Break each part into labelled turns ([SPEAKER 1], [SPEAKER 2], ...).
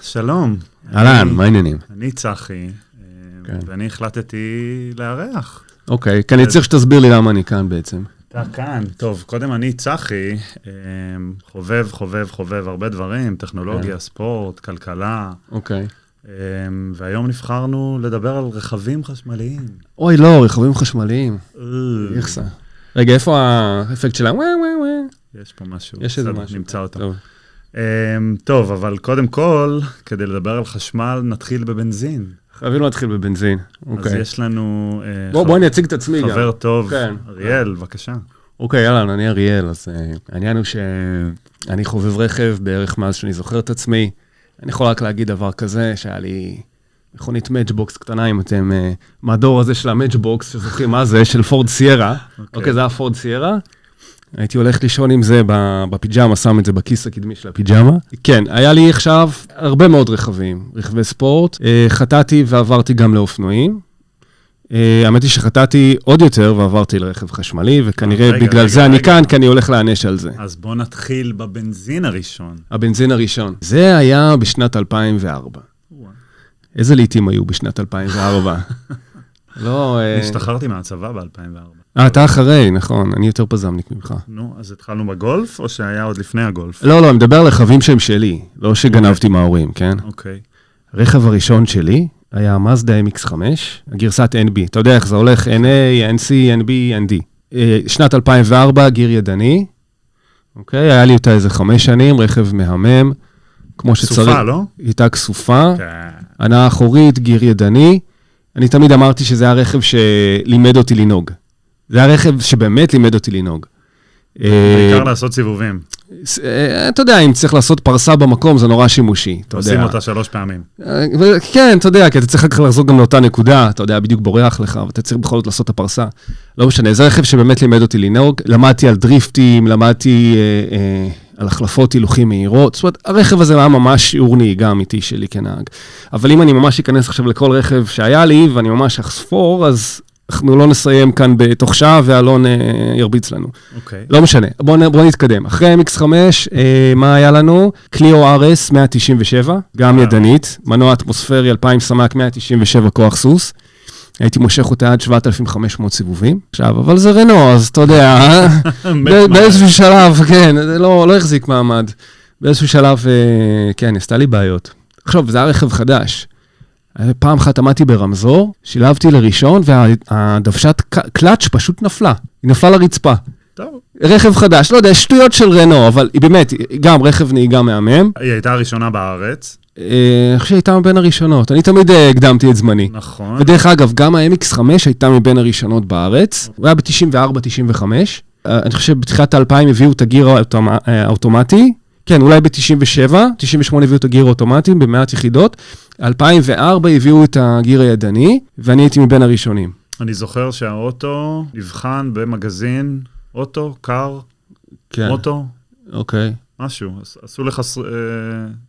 [SPEAKER 1] שלום.
[SPEAKER 2] אהלן, מה העניינים?
[SPEAKER 1] אני צחי, אה,
[SPEAKER 2] כן.
[SPEAKER 1] ואני החלטתי לארח.
[SPEAKER 2] אוקיי, כי אני צריך שתסביר לי למה אני כאן בעצם.
[SPEAKER 1] אתה כאן. טוב, קודם אני צחי, אמ, חובב, חובב, חובב הרבה דברים,
[SPEAKER 2] כן.
[SPEAKER 1] טכנולוגיה, ספורט, כלכלה,
[SPEAKER 2] אוקיי.
[SPEAKER 1] אמ, והיום נבחרנו לדבר על רכבים חשמליים.
[SPEAKER 2] אוי, לא, רכבים חשמליים.
[SPEAKER 1] אה,
[SPEAKER 2] איכסה. רגע, איפה האפקט של ה... וואו, וואו, וואו?
[SPEAKER 1] יש פה משהו.
[SPEAKER 2] יש איזה
[SPEAKER 1] בסדר,
[SPEAKER 2] משהו. לא.
[SPEAKER 1] נמצא אותו.
[SPEAKER 2] טוב.
[SPEAKER 1] אמ, טוב, אבל קודם כל, כדי לדבר על חשמל, נתחיל בבנזין.
[SPEAKER 2] חייבים להתחיל בבנזין.
[SPEAKER 1] אז
[SPEAKER 2] אוקיי.
[SPEAKER 1] יש לנו אה,
[SPEAKER 2] בוא, בוא אני אציג את עצמי גם.
[SPEAKER 1] חבר טוב,
[SPEAKER 2] כן.
[SPEAKER 1] אריאל, בבקשה.
[SPEAKER 2] אוקיי, אהלן, אני אריאל, אז אה, העניין הוא שאני חובב רכב בערך מאז שאני זוכר את עצמי. אני יכול רק להגיד דבר כזה, שהיה לי מכונית מאצ'בוקס קטנה, אם אתם אה, מהדור הזה של המאצ'בוקס, שזוכרים מה זה, של פורד סיירה. אוקיי, זה היה פורד סיירה. הייתי הולך לישון עם זה ב- בפיג'מה, שם את זה בכיס הקדמי של הפיג'מה. כן, היה לי עכשיו הרבה מאוד רכבים, רכבי ספורט. אה, חטאתי ועברתי גם לאופנועים. אה, האמת היא שחטאתי עוד יותר ועברתי לרכב חשמלי, וכנראה
[SPEAKER 1] רגע,
[SPEAKER 2] בגלל
[SPEAKER 1] רגע,
[SPEAKER 2] זה אני
[SPEAKER 1] רגע.
[SPEAKER 2] כאן, כי אני הולך להיענש על זה.
[SPEAKER 1] אז בוא נתחיל בבנזין הראשון.
[SPEAKER 2] הבנזין הראשון. זה היה בשנת 2004. איזה לעיתים היו בשנת 2004? לא, אה,
[SPEAKER 1] השתחררתי מהצבא ב-2004.
[SPEAKER 2] אה, אתה אחרי, נכון, אני יותר פזמניק ממך.
[SPEAKER 1] נו, אז התחלנו בגולף, או שהיה עוד לפני הגולף?
[SPEAKER 2] לא, לא, אני מדבר על רכבים שהם שלי, לא שגנבתי מההורים, כן?
[SPEAKER 1] אוקיי.
[SPEAKER 2] הרכב הראשון שלי היה מזדה MX5, הגרסת NB. אתה יודע איך זה הולך, NA, NC, NB, ND. אה, שנת 2004, גיר ידני. אוקיי, היה לי אותה איזה חמש שנים, רכב מהמם, כמו שצריך. אה.
[SPEAKER 1] סופה, לא?
[SPEAKER 2] היא הייתה כסופה,
[SPEAKER 1] כן.
[SPEAKER 2] הנעה אחורית, גיר ידני. אני תמיד אמרתי שזה היה רכב שלימד אותי לנהוג. זה היה רכב שבאמת לימד אותי לנהוג. אה,
[SPEAKER 1] בעיקר לעשות סיבובים.
[SPEAKER 2] ס- אה, אתה יודע, אם צריך לעשות פרסה במקום, זה נורא שימושי. אתה
[SPEAKER 1] עושים
[SPEAKER 2] יודע.
[SPEAKER 1] אותה שלוש פעמים.
[SPEAKER 2] אה, ו- כן, אתה יודע, כי אתה צריך אחר כך לחזור גם לאותה נקודה, אתה יודע, בדיוק בורח לך, ואתה צריך בכל זאת לעשות את הפרסה. לא משנה, זה רכב שבאמת לימד אותי לנהוג, למדתי על דריפטים, למדתי אה, אה, על החלפות הילוכים מהירות, זאת אומרת, הרכב הזה היה ממש שיעור נהיגה אמיתי שלי כנהג. אבל אם אני ממש אכנס עכשיו לכל רכב שהיה לי, ואני ממש אחספור, אז אנחנו לא נסיים כאן בתוך שעה, ואלון אה, ירביץ לנו.
[SPEAKER 1] אוקיי.
[SPEAKER 2] לא משנה, בואו בוא נתקדם. אחרי MX5, אה, מה היה לנו? קליו RS 197, גם
[SPEAKER 1] אה.
[SPEAKER 2] ידנית, מנוע אטמוספרי 2,000 סמ"ק, 197 כוח סוס. הייתי מושך אותה עד 7,500 סיבובים. עכשיו, אבל זה רנו, אז אתה יודע, אה?
[SPEAKER 1] מת מה-
[SPEAKER 2] ב- באיזשהו שלב, כן, זה לא, לא החזיק מעמד. באיזשהו שלב, אה, כן, עשתה לי בעיות. עכשיו, זה היה רכב חדש. אה, פעם אחת עמדתי ברמזור, שילבתי לראשון, והדוושת קלאץ' פשוט נפלה. היא נפלה לרצפה.
[SPEAKER 1] טוב.
[SPEAKER 2] רכב חדש, לא יודע, שטויות של רנו, אבל היא באמת, היא גם רכב נהיגה מהמם.
[SPEAKER 1] היא הייתה הראשונה בארץ.
[SPEAKER 2] אה, אני חושב שהיא הייתה מבין הראשונות, אני תמיד אה, הקדמתי את זמני.
[SPEAKER 1] נכון.
[SPEAKER 2] ודרך אגב, גם ה-MX5 הייתה מבין הראשונות בארץ, הוא היה ב-94-95. אה, אני חושב שבתחילת ה-2000 הביאו את הגיר האוטומ- אה, האוטומטי, כן, אולי ב-97, 98 הביאו את הגיר האוטומטי במעט יחידות, 2004 הביאו את הגיר הידני, ואני הייתי מבין הראשונים.
[SPEAKER 1] אני זוכר שהאוטו נבחן במגזין, אוטו, קר,
[SPEAKER 2] כן,
[SPEAKER 1] מוטו,
[SPEAKER 2] אוקיי.
[SPEAKER 1] משהו. עש- עשו לך ס- אה,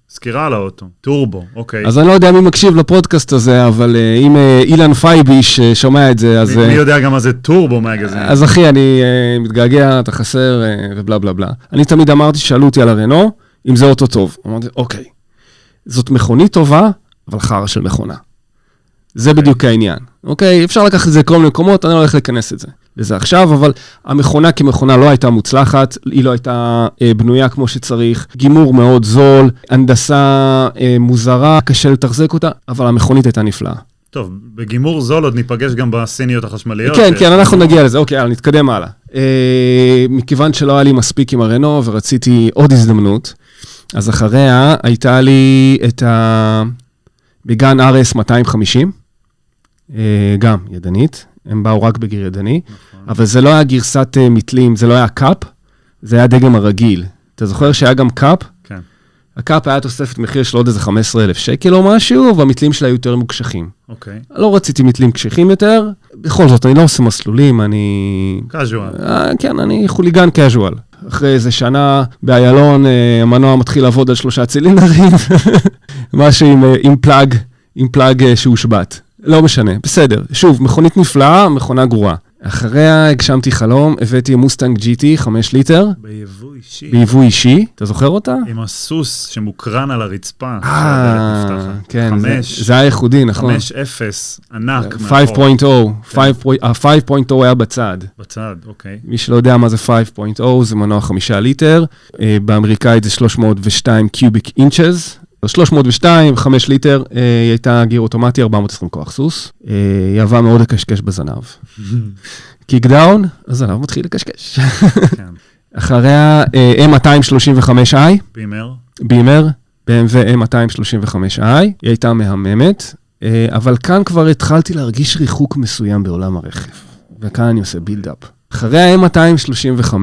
[SPEAKER 1] סקירה על האוטו. טורבו, אוקיי.
[SPEAKER 2] אז אני לא יודע מי מקשיב לפודקאסט הזה, אבל אה, אם אה, אילן פייבי ששומע את זה, אז...
[SPEAKER 1] מי- מי
[SPEAKER 2] אה,
[SPEAKER 1] יודע גם מה זה טורבו מגזין?
[SPEAKER 2] אז אחי, אני אה, מתגעגע, אתה חסר אה, ובלה בלה בלה. אני תמיד אמרתי, שאלו אותי על הרנו, אם זה אוטו טוב. אמרתי, אוקיי. זאת מכונית טובה, אבל חרא של מכונה. זה בדיוק העניין, אוקיי? אפשר לקחת את זה לכל מיני מקומות, אני לא הולך להיכנס לזה. לזה עכשיו, אבל המכונה כמכונה לא הייתה מוצלחת, היא לא הייתה אה, בנויה כמו שצריך, גימור מאוד זול, הנדסה אה, מוזרה, קשה לתחזק אותה, אבל המכונית הייתה נפלאה.
[SPEAKER 1] טוב, בגימור זול עוד ניפגש גם בסיניות החשמליות.
[SPEAKER 2] כן,
[SPEAKER 1] אה,
[SPEAKER 2] כן, אנחנו נגיע לזה, אוקיי, יאללה, נתקדם הלאה. אה, מכיוון שלא היה לי מספיק עם הרנו ורציתי עוד הזדמנות, אז אחריה הייתה לי את ה... בגן RS 250, אה, גם ידנית, הם באו רק בגיר ידני,
[SPEAKER 1] נכון.
[SPEAKER 2] אבל זה לא היה גרסת אה, מתלים, זה לא היה קאפ, זה היה דגם הרגיל. אתה זוכר שהיה גם קאפ?
[SPEAKER 1] כן.
[SPEAKER 2] הקאפ היה תוספת מחיר של עוד איזה 15,000 שקל או משהו, והמתלים שלה היו יותר מוקשחים.
[SPEAKER 1] אוקיי.
[SPEAKER 2] לא רציתי מתלים קשיחים יותר, בכל זאת, אני לא עושה מסלולים, אני...
[SPEAKER 1] קאז'ואל.
[SPEAKER 2] אה, כן, אני חוליגן קאז'ואל. אחרי איזה שנה באיילון, אה, המנוע מתחיל לעבוד על שלושה צילינדרים, משהו עם, אה, עם פלאג, עם פלאג אה, שהושבת. לא משנה, בסדר. שוב, מכונית נפלאה, מכונה גרועה. אחריה הגשמתי חלום, הבאתי מוסטנג GT, 5 ליטר,
[SPEAKER 1] ביבוא אישי.
[SPEAKER 2] ביבוא אישי. אתה זוכר אותה?
[SPEAKER 1] עם הסוס שמוקרן על הרצפה. שהדלת
[SPEAKER 2] אה,
[SPEAKER 1] נפתחת.
[SPEAKER 2] כן, זה-
[SPEAKER 1] אה, חמש,
[SPEAKER 2] זה היה ייחודי, אה, נכון.
[SPEAKER 1] 5-0,
[SPEAKER 2] אה,
[SPEAKER 1] ענק. מאחורה.
[SPEAKER 2] 5.0, 5.0, ה-5.0 היה בצד.
[SPEAKER 1] בצד, אוקיי.
[SPEAKER 2] מי שלא יודע מה זה 5.0, זה מנוע חמישה ליטר, אה, באמריקאית זה 302 קיוביק אינצ'ז, 302, 5 ליטר, אה, היא הייתה גיר אוטומטי, 420 כוח סוס, אה, היא אהבה מאוד לקשקש בזנב. קיק דאון, הזנב מתחיל לקשקש.
[SPEAKER 1] כן.
[SPEAKER 2] אחריה אה, M235i,
[SPEAKER 1] בימר.
[SPEAKER 2] בימר, BMW M235i, היא הייתה מהממת, אה, אבל כאן כבר התחלתי להרגיש ריחוק מסוים בעולם הרכב, וכאן אני עושה בילדאפ. אחרי ה-M235,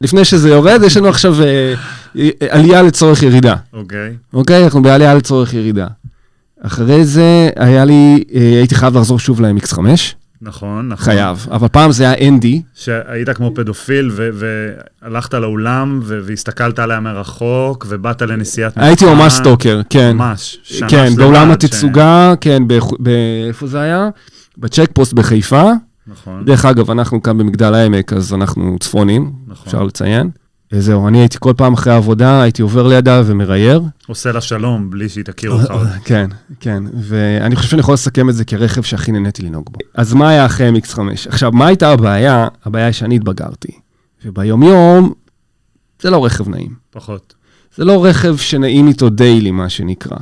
[SPEAKER 2] לפני שזה יורד, יש לנו עכשיו אה, אה, עלייה לצורך ירידה,
[SPEAKER 1] אוקיי.
[SPEAKER 2] אוקיי? אנחנו בעלייה לצורך ירידה. אחרי זה היה לי, אה, הייתי חייב לחזור שוב ל-MX5,
[SPEAKER 1] נכון, נכון.
[SPEAKER 2] חייב, אבל פעם זה היה ND,
[SPEAKER 1] שהיית כמו פדופיל ו- והלכת לאולם ו- והסתכלת עליה מרחוק ובאת לנסיעת...
[SPEAKER 2] הייתי
[SPEAKER 1] מבחן.
[SPEAKER 2] ממש סטוקר, כן.
[SPEAKER 1] אה, ממש. שנה
[SPEAKER 2] כן,
[SPEAKER 1] שלמה
[SPEAKER 2] באולם
[SPEAKER 1] עד
[SPEAKER 2] התצוגה, כן, באיכו- ב- איפה זה היה? בצ'ק פוסט בחיפה.
[SPEAKER 1] ש... נכון.
[SPEAKER 2] דרך אגב, אנחנו כאן במגדל העמק, אז אנחנו צפונים,
[SPEAKER 1] נכון.
[SPEAKER 2] אפשר לציין. אה, זהו, אני הייתי כל פעם אחרי העבודה, הייתי עובר לידה ומרייר.
[SPEAKER 1] עושה לה שלום בלי שהיא תכיר אותך. עוד.
[SPEAKER 2] כן, כן, ואני חושב שאני יכול לסכם את זה כרכב שהכי נהניתי לנהוג בו. אז מה היה אחרי MX5? עכשיו, מה הייתה הבעיה? הבעיה היא שאני התבגרתי. וביומיום, זה לא רכב נעים.
[SPEAKER 1] פחות.
[SPEAKER 2] זה לא רכב שנעים איתו דיילי, מה שנקרא.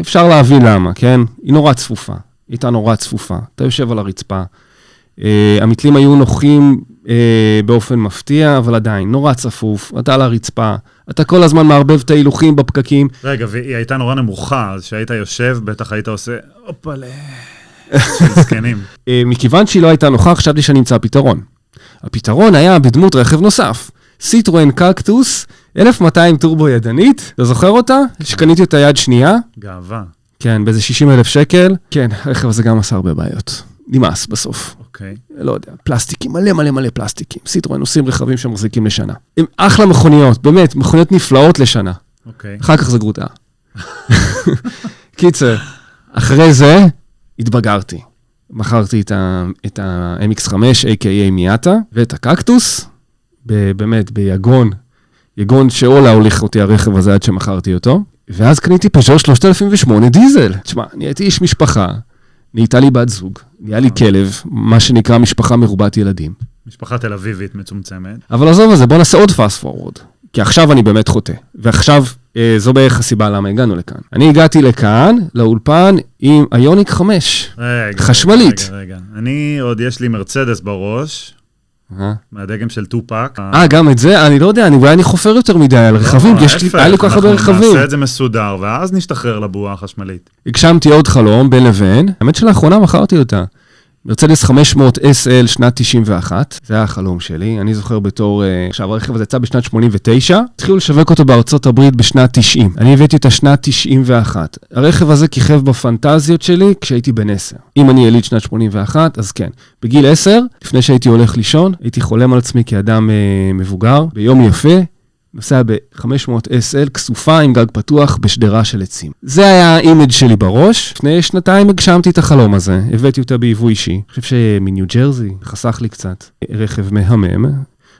[SPEAKER 2] אפשר להבין למה, כן? היא נורא צפופה. היא הייתה נורא צפופה. אתה יושב על הרצפה. אה, המתלים היו נוחים אה, באופן מפתיע, אבל עדיין, נורא צפוף. אתה על הרצפה. אתה כל הזמן מערבב את ההילוכים בפקקים.
[SPEAKER 1] רגע, והיא הייתה נורא נמוכה, אז כשהיית יושב, בטח היית עושה, הופלה, של זקנים.
[SPEAKER 2] אה, מכיוון שהיא לא הייתה נוחה, חשבתי שנמצא פתרון. הפתרון היה בדמות רכב נוסף. סיטרואן קקטוס, 1200 טורבו ידנית, אתה זוכר אותה? שקניתי אותה יד שנייה,
[SPEAKER 1] גאווה,
[SPEAKER 2] כן, באיזה 60 אלף שקל. כן, הרכב הזה גם עשה הרבה בעיות. נמאס בסוף.
[SPEAKER 1] אוקיי.
[SPEAKER 2] לא יודע, פלסטיקים, מלא מלא מלא פלסטיקים. סיטרואן עושים רכבים שמחזיקים לשנה. הם אחלה מכוניות, באמת, מכוניות נפלאות לשנה.
[SPEAKER 1] אוקיי.
[SPEAKER 2] אחר כך זה גרוטה. קיצר, אחרי זה התבגרתי. מכרתי את ה- את ה-MX5, a.k.a מיאטה, ואת הקקטוס, ב- באמת, ביגון, יגון שאולה הוליך אותי הרכב הזה עד שמכרתי אותו, ואז קניתי פז'ו 3008 דיזל. תשמע, אני הייתי איש משפחה, נהייתה לי בת זוג, נהיה לי כלב, מה שנקרא משפחה מרובת ילדים.
[SPEAKER 1] משפחה תל אביבית מצומצמת.
[SPEAKER 2] אבל עזוב את זה, בוא נעשה עוד fast forward. כי עכשיו אני באמת חוטא. ועכשיו, אה, זו בערך הסיבה למה הגענו לכאן. אני הגעתי לכאן, לאולפן, עם איוניק 5.
[SPEAKER 1] רגע.
[SPEAKER 2] חשמלית.
[SPEAKER 1] רגע, רגע. אני עוד, יש לי מרצדס בראש,
[SPEAKER 2] אה,
[SPEAKER 1] מהדגם של טופק.
[SPEAKER 2] אה, גם את זה? אני לא יודע, אני, אולי אני חופר יותר מדי על רכבים,
[SPEAKER 1] לא,
[SPEAKER 2] כי יש לי,
[SPEAKER 1] ההפך,
[SPEAKER 2] היה לי כל כך הרבה
[SPEAKER 1] אנחנו
[SPEAKER 2] רכבים.
[SPEAKER 1] נעשה את זה מסודר, ואז נשתחרר לבועה החשמלית.
[SPEAKER 2] הגשמתי עוד חלום בין לבין, האמת שלאחרונה מכרתי אותה. מרצדס 500 SL שנת 91, זה היה החלום שלי, אני זוכר בתור, אה, עכשיו הרכב הזה יצא בשנת 89, התחילו לשווק אותו בארצות הברית בשנת 90, אני הבאתי אותה שנת 91. הרכב הזה כיכב בפנטזיות שלי כשהייתי בן 10. אם אני יליד שנת 81, אז כן. בגיל 10, לפני שהייתי הולך לישון, הייתי חולם על עצמי כאדם אה, מבוגר, ביום יפה, נוסע ב-500 SL כסופה עם גג פתוח בשדרה של עצים. זה היה האימג' שלי בראש. לפני שנתיים הגשמתי את החלום הזה, הבאתי אותה ביבוא אישי. אני חושב שמניו ג'רזי, חסך לי קצת. רכב מהמם,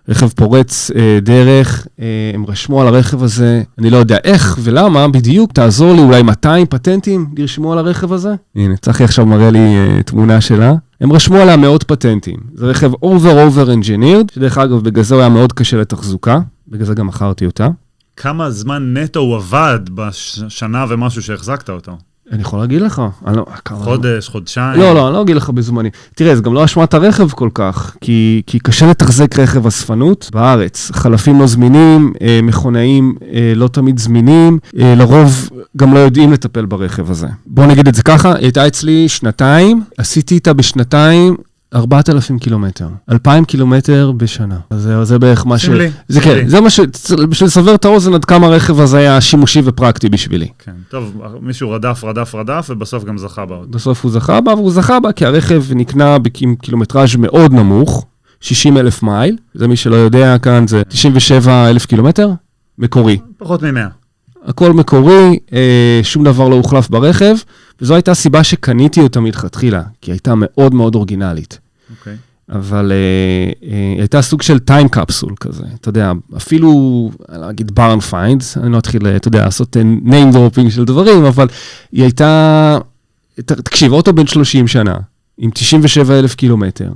[SPEAKER 2] רכב פורץ אה, דרך, אה, הם רשמו על הרכב הזה, אני לא יודע איך ולמה בדיוק, תעזור לי, אולי 200 פטנטים ירשמו על הרכב הזה? הנה, צחי עכשיו מראה לי אה, תמונה שלה. הם רשמו עליה מאות פטנטים. זה רכב over over engineered, שדרך אגב, בגלל זה הוא היה מאוד קשה לתחזוקה, בגלל זה גם מכרתי אותה.
[SPEAKER 1] כמה זמן נטו הוא עבד בשנה ומשהו שהחזקת אותו?
[SPEAKER 2] אני יכול להגיד לך, אני לא... כמה-
[SPEAKER 1] חודש, חודשיים?
[SPEAKER 2] אה. לא, לא, אני לא אגיד לך בזמני. תראה, זה גם לא אשמת הרכב כל כך, כי, כי קשה לתחזק רכב אספנות בארץ. חלפים לא זמינים, אה, מכונאים אה, לא תמיד זמינים, אה, לרוב גם לא יודעים לטפל ברכב הזה. בוא נגיד את זה ככה, היא הייתה אצלי שנתיים, עשיתי איתה בשנתיים. 4,000 קילומטר, 2,000 קילומטר בשנה. אז זה, זה בערך מה ש...
[SPEAKER 1] סמלי,
[SPEAKER 2] זה
[SPEAKER 1] סמלי.
[SPEAKER 2] כן, זה מה ש... בשביל לסבר את האוזן עד כמה הרכב הזה היה שימושי ופרקטי בשבילי.
[SPEAKER 1] כן. טוב, מישהו רדף, רדף, רדף, ובסוף גם זכה באוטו.
[SPEAKER 2] בסוף הוא זכה בה, והוא זכה בה כי הרכב נקנה בק- עם קילומטראז' מאוד נמוך, 60 אלף מייל, זה מי שלא יודע כאן, זה 97 אלף קילומטר, מקורי.
[SPEAKER 1] פחות מ-100.
[SPEAKER 2] הכל מקורי, אה, שום דבר לא הוחלף ברכב, וזו הייתה הסיבה שקניתי אותה מלכתחילה, כי היא הייתה מאוד מאוד אורגינלית.
[SPEAKER 1] אוקיי.
[SPEAKER 2] אבל אה, אה, הייתה סוג של time capsule כזה, אתה יודע, אפילו, אני לא אגיד ברן פיינדס, אני לא אתחיל, אה, אתה יודע, לעשות אה, name dropping של דברים, אבל היא הייתה, ת- תקשיב, אוטו בן 30 שנה, עם 97 אלף קילומטר,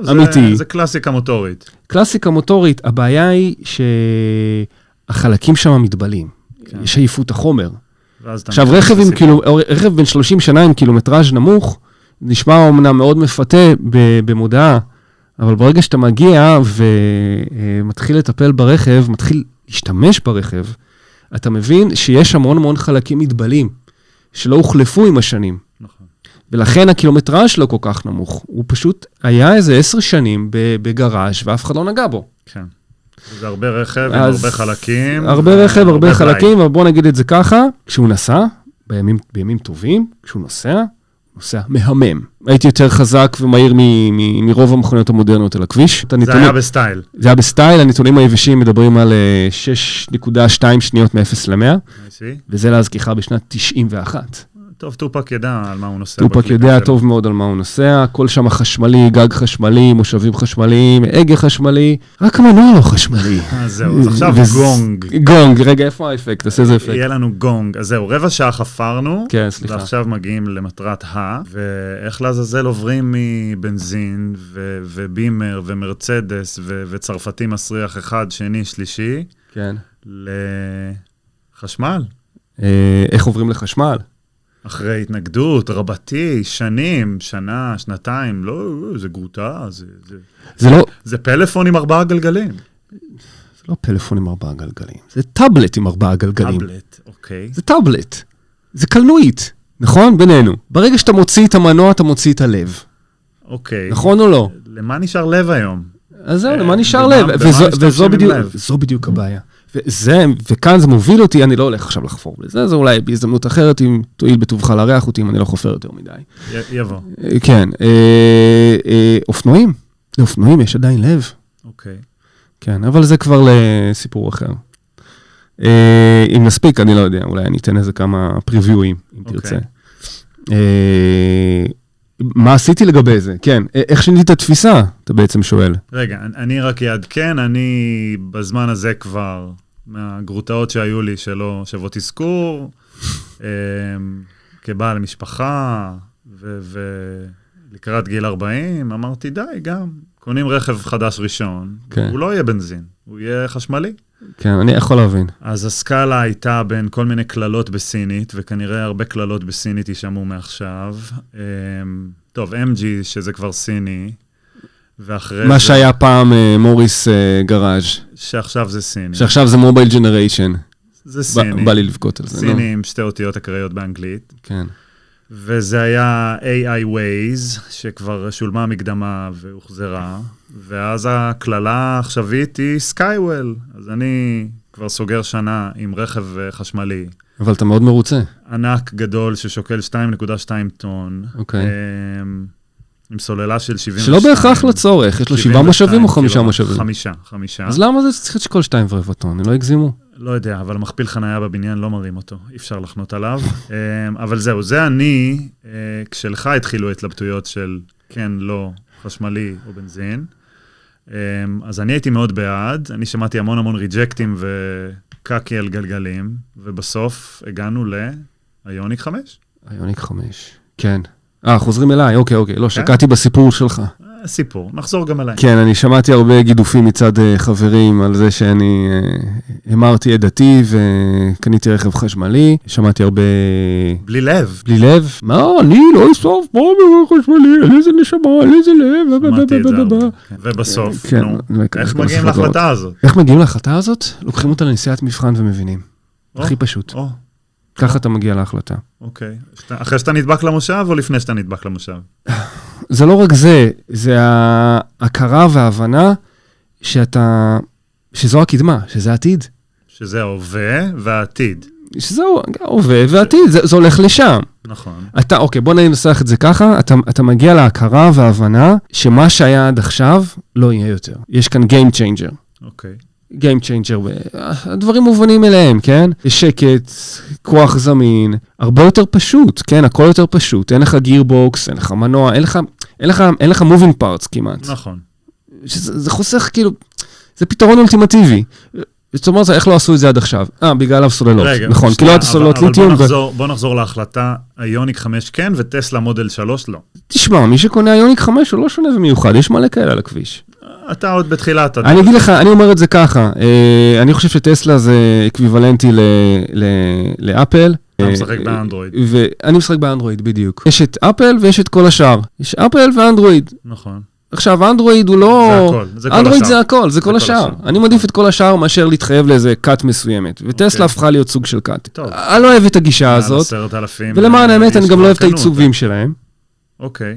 [SPEAKER 1] זה-
[SPEAKER 2] אמיתי.
[SPEAKER 1] זה קלאסיקה מוטורית.
[SPEAKER 2] קלאסיקה מוטורית, הבעיה היא שהחלקים שם מתבלים,
[SPEAKER 1] כן.
[SPEAKER 2] יש עייפות החומר.
[SPEAKER 1] ואז אתה
[SPEAKER 2] עכשיו,
[SPEAKER 1] מגיע
[SPEAKER 2] רכב, עם
[SPEAKER 1] לסיפור.
[SPEAKER 2] קילו, רכב בן 30 שנה עם קילומטראז' נמוך, נשמע אומנם מאוד מפתה ב- במודעה, אבל ברגע שאתה מגיע ומתחיל לטפל ברכב, מתחיל להשתמש ברכב, אתה מבין שיש המון המון חלקים מתבלים, שלא הוחלפו עם השנים.
[SPEAKER 1] נכון.
[SPEAKER 2] ולכן הקילומטראז' לא כל כך נמוך. הוא פשוט היה איזה עשר שנים ב- בגראז' ואף אחד לא נגע בו.
[SPEAKER 1] כן. זה הרבה רכב, עם
[SPEAKER 2] אז
[SPEAKER 1] הרבה חלקים. אה,
[SPEAKER 2] הרבה רכב, הרבה
[SPEAKER 1] בלאי.
[SPEAKER 2] חלקים, אבל בוא נגיד את זה ככה, כשהוא נסע, בימים, בימים טובים, כשהוא נוסע, הוא נוסע מהמם. הייתי יותר חזק ומהיר מ- מ- מרוב המכוניות המודרניות על הכביש. את
[SPEAKER 1] זה
[SPEAKER 2] הנתונים-
[SPEAKER 1] היה בסטייל.
[SPEAKER 2] זה היה בסטייל, הנתונים היבשים מדברים על אה, 6.2 שניות מ-0 ל-100,
[SPEAKER 1] I see.
[SPEAKER 2] וזה להזכיחה בשנת 91.
[SPEAKER 1] טוב, טופק ידע על מה הוא נוסע.
[SPEAKER 2] טופק
[SPEAKER 1] בקליקה
[SPEAKER 2] יודע
[SPEAKER 1] שלו.
[SPEAKER 2] טוב מאוד על מה הוא נוסע, הכל שם חשמלי, גג חשמלי, מושבים חשמליים, הגה חשמלי, רק המנוע לא חשמלי.
[SPEAKER 1] אה, זהו, אז עכשיו
[SPEAKER 2] וזה-
[SPEAKER 1] גונג. אה,
[SPEAKER 2] גונג, רגע, איפה האפקט? תעשה איזה אפקט.
[SPEAKER 1] יהיה לנו גונג. אז זהו, רבע שעה חפרנו.
[SPEAKER 2] כן, סליחה.
[SPEAKER 1] ועכשיו מגיעים למטרת ה, ואיך לעזאזל עוברים מבנזין ו- ובימר ומרצדס ו- וצרפתי מסריח אחד, שני, שלישי,
[SPEAKER 2] כן.
[SPEAKER 1] לחשמל.
[SPEAKER 2] אה, איך עוברים לחשמל?
[SPEAKER 1] אחרי התנגדות, רבתי, שנים, שנה, שנתיים, לא, לא, זה גרוטה, זה, זה,
[SPEAKER 2] זה לא,
[SPEAKER 1] זה פלאפון עם ארבעה גלגלים.
[SPEAKER 2] זה לא פלאפון עם ארבעה גלגלים, זה טאבלט עם ארבעה גלגלים.
[SPEAKER 1] טאבלט, אוקיי.
[SPEAKER 2] זה טאבלט. זה קלנועית, נכון? בינינו. ברגע שאתה מוציא את המנוע, אתה מוציא את הלב.
[SPEAKER 1] אוקיי.
[SPEAKER 2] נכון או לא?
[SPEAKER 1] למה נשאר לב היום?
[SPEAKER 2] אז זהו,
[SPEAKER 1] אה,
[SPEAKER 2] למה נשאר
[SPEAKER 1] במה-
[SPEAKER 2] לב?
[SPEAKER 1] במה
[SPEAKER 2] וזו-
[SPEAKER 1] משתמשים
[SPEAKER 2] וזו
[SPEAKER 1] עם
[SPEAKER 2] בדיוק-
[SPEAKER 1] לב?
[SPEAKER 2] זו בדיוק הבעיה. וזה, וכאן זה מוביל אותי, אני לא הולך עכשיו לחפור בזה, זה אולי בהזדמנות אחרת, אם תואיל בטובך לארח אותי, אם אני לא חופר יותר מדי.
[SPEAKER 1] י- יבוא,
[SPEAKER 2] אה, כן, אה, אה, אופנועים, לאופנועים יש עדיין לב.
[SPEAKER 1] אוקיי.
[SPEAKER 2] כן, אבל זה כבר לסיפור אחר. אה, אם נספיק, אני לא יודע, אולי אני אתן איזה כמה פריוויואים, אם
[SPEAKER 1] אוקיי.
[SPEAKER 2] תרצה. אה, מה עשיתי לגבי זה? כן, א- איך שיניתי את התפיסה, אתה בעצם שואל.
[SPEAKER 1] רגע, אני- אני רק אעדכן, אני בזמן הזה כבר, מהגרוטאות שהיו לי שלא שוות אזכור, אמ, כבעל משפחה, ולקראת גיל 40, אמרתי, די, גם, קונים רכב חדש ראשון,
[SPEAKER 2] כן.
[SPEAKER 1] הוא לא יהיה בנזין, הוא יהיה חשמלי.
[SPEAKER 2] כן, אני יכול להבין.
[SPEAKER 1] אז הסקאלה הייתה בין כל מיני קללות בסינית, וכנראה הרבה קללות בסינית יישמעו מעכשיו. אמ, טוב, MG, שזה כבר סיני, ואחרי
[SPEAKER 2] מה
[SPEAKER 1] זה...
[SPEAKER 2] שהיה פעם אה, מוריס אה, גראז',
[SPEAKER 1] שעכשיו זה סיני.
[SPEAKER 2] שעכשיו זה מובייל ג'נריישן.
[SPEAKER 1] זה סיני.
[SPEAKER 2] בא לי לבכות על זה, נו.
[SPEAKER 1] סיני עם שתי אותיות אקראיות באנגלית.
[SPEAKER 2] כן.
[SPEAKER 1] וזה היה AI Waze, שכבר שולמה מקדמה והוחזרה. ואז הקללה העכשווית היא Skywell. אז אני כבר סוגר שנה עם רכב אה, חשמלי.
[SPEAKER 2] אבל אתה מאוד מרוצה.
[SPEAKER 1] ענק גדול ששוקל 2.2 טון.
[SPEAKER 2] אוקיי.
[SPEAKER 1] אמ, עם סוללה של 72.
[SPEAKER 2] שלא בהכרח לצורך, יש לו שבעה
[SPEAKER 1] 72
[SPEAKER 2] מושבים או חמישה
[SPEAKER 1] קילו-
[SPEAKER 2] מושבים?
[SPEAKER 1] חמישה, חמישה.
[SPEAKER 2] אז למה זה צריך לשקול שתיים ורבע טון? הם לא הגזימו.
[SPEAKER 1] לא יודע, אבל מכפיל חנייה בבניין לא מרים אותו, אי אפשר לחנות עליו. אמ, אבל זהו, זה אני, אה, כשלך התחילו ההתלבטויות של כן, לא, חשמלי או בנזין. אמ, אז אני הייתי מאוד בעד, אני שמעתי המון המון ריג'קטים וקקי על גלגלים, ובסוף הגענו לאיוניק 5.
[SPEAKER 2] איוניק חמש. כן. אה, חוזרים אליי, אוקיי, אוקיי. לא,
[SPEAKER 1] כן?
[SPEAKER 2] שקעתי בסיפור שלך.
[SPEAKER 1] אה, סיפור, נחזור גם אליי.
[SPEAKER 2] כן, אני שמעתי הרבה גידופים מצד אה, חברים על זה שאני אה, המרתי את דתי וקניתי רכב חשמלי. שמעתי הרבה... אה,
[SPEAKER 1] בלי לב.
[SPEAKER 2] בלי לב. מה, אני לא אסוף פה ברכב חשמלי, על איזה נשמה, על איזה לב. ב- ב-
[SPEAKER 1] שמעתי את
[SPEAKER 2] ב-
[SPEAKER 1] זה
[SPEAKER 2] ב- ב-
[SPEAKER 1] הרבה.
[SPEAKER 2] ב-
[SPEAKER 1] כן. ובסוף,
[SPEAKER 2] כן,
[SPEAKER 1] נו,
[SPEAKER 2] וכ-
[SPEAKER 1] איך
[SPEAKER 2] כמה
[SPEAKER 1] מגיעים
[SPEAKER 2] שפות ועוד.
[SPEAKER 1] להחלטה הזאת?
[SPEAKER 2] איך מגיעים להחלטה הזאת? לוקחים אותה לנסיעת מבחן ומבינים.
[SPEAKER 1] או,
[SPEAKER 2] הכי פשוט.
[SPEAKER 1] או,
[SPEAKER 2] ככה אתה מגיע להחלטה.
[SPEAKER 1] אוקיי. שאתה- אחרי שאתה נדבק למושב או לפני שאתה נדבק למושב?
[SPEAKER 2] זה לא רק זה, זה ההכרה וההבנה שאתה, שזו הקדמה, שזה העתיד.
[SPEAKER 1] שזה ההווה והעתיד.
[SPEAKER 2] שזה ההווה והעתיד, זה, זה הולך לשם.
[SPEAKER 1] נכון.
[SPEAKER 2] אתה, אוקיי, בוא ננסח את זה ככה, אתה, אתה מגיע להכרה וההבנה שמה שהיה עד עכשיו לא יהיה יותר. יש כאן Game Changer.
[SPEAKER 1] אוקיי.
[SPEAKER 2] Game Changer, ו- הדברים מובנים אליהם, כן? יש שקט, כוח זמין, הרבה יותר פשוט, כן? הכל יותר פשוט, אין לך גיר בוקס, אין לך מנוע, אין לך... אין לך, אין לך moving parts כמעט.
[SPEAKER 1] נכון.
[SPEAKER 2] שזה, זה חוסך כאילו, זה פתרון אולטימטיבי. זאת אומרת, איך לא עשו את זה עד עכשיו? אה, בגלל הסוללות.
[SPEAKER 1] רגע,
[SPEAKER 2] נכון, כי
[SPEAKER 1] שנייה,
[SPEAKER 2] לא הייתה
[SPEAKER 1] אבל-
[SPEAKER 2] סוללות
[SPEAKER 1] אבל בוא
[SPEAKER 2] ליטיום. ו-
[SPEAKER 1] נחזור- בוא נחזור להחלטה, איוניק 5 כן וטסלה מודל 3 לא.
[SPEAKER 2] תשמע, מי שקונה איוניק 5 הוא לא שונה ומיוחד, יש מלא כאלה על הכביש.
[SPEAKER 1] אתה עוד בתחילת הדרך.
[SPEAKER 2] אני אגיד לך, אני אומר את זה ככה, אה, אני חושב שטסלה זה אקוויוולנטי ל- ל- לאפל.
[SPEAKER 1] אתה משחק
[SPEAKER 2] אה,
[SPEAKER 1] באנדרואיד.
[SPEAKER 2] ואני משחק באנדרואיד, בדיוק. יש את אפל ויש את כל השאר. יש אפל ואנדרואיד.
[SPEAKER 1] נכון.
[SPEAKER 2] עכשיו, אנדרואיד הוא לא...
[SPEAKER 1] זה הכל, זה כל
[SPEAKER 2] אנדרואיד
[SPEAKER 1] השאר.
[SPEAKER 2] זה הכל, זה כל השאר. אני מעדיף את כל השאר מאשר להתחייב לאיזה כת מסוימת.
[SPEAKER 1] אוקיי.
[SPEAKER 2] וטסלה הפכה להיות סוג של כת.
[SPEAKER 1] טוב.
[SPEAKER 2] אני לא אוהב את הגישה הזאת,
[SPEAKER 1] מעל 10,000,
[SPEAKER 2] ולמען
[SPEAKER 1] אה,
[SPEAKER 2] האמת,
[SPEAKER 1] איש
[SPEAKER 2] אני גם לא אוהב את
[SPEAKER 1] כבר קנו
[SPEAKER 2] העיצובים שלהם.
[SPEAKER 1] אותה. אוקיי.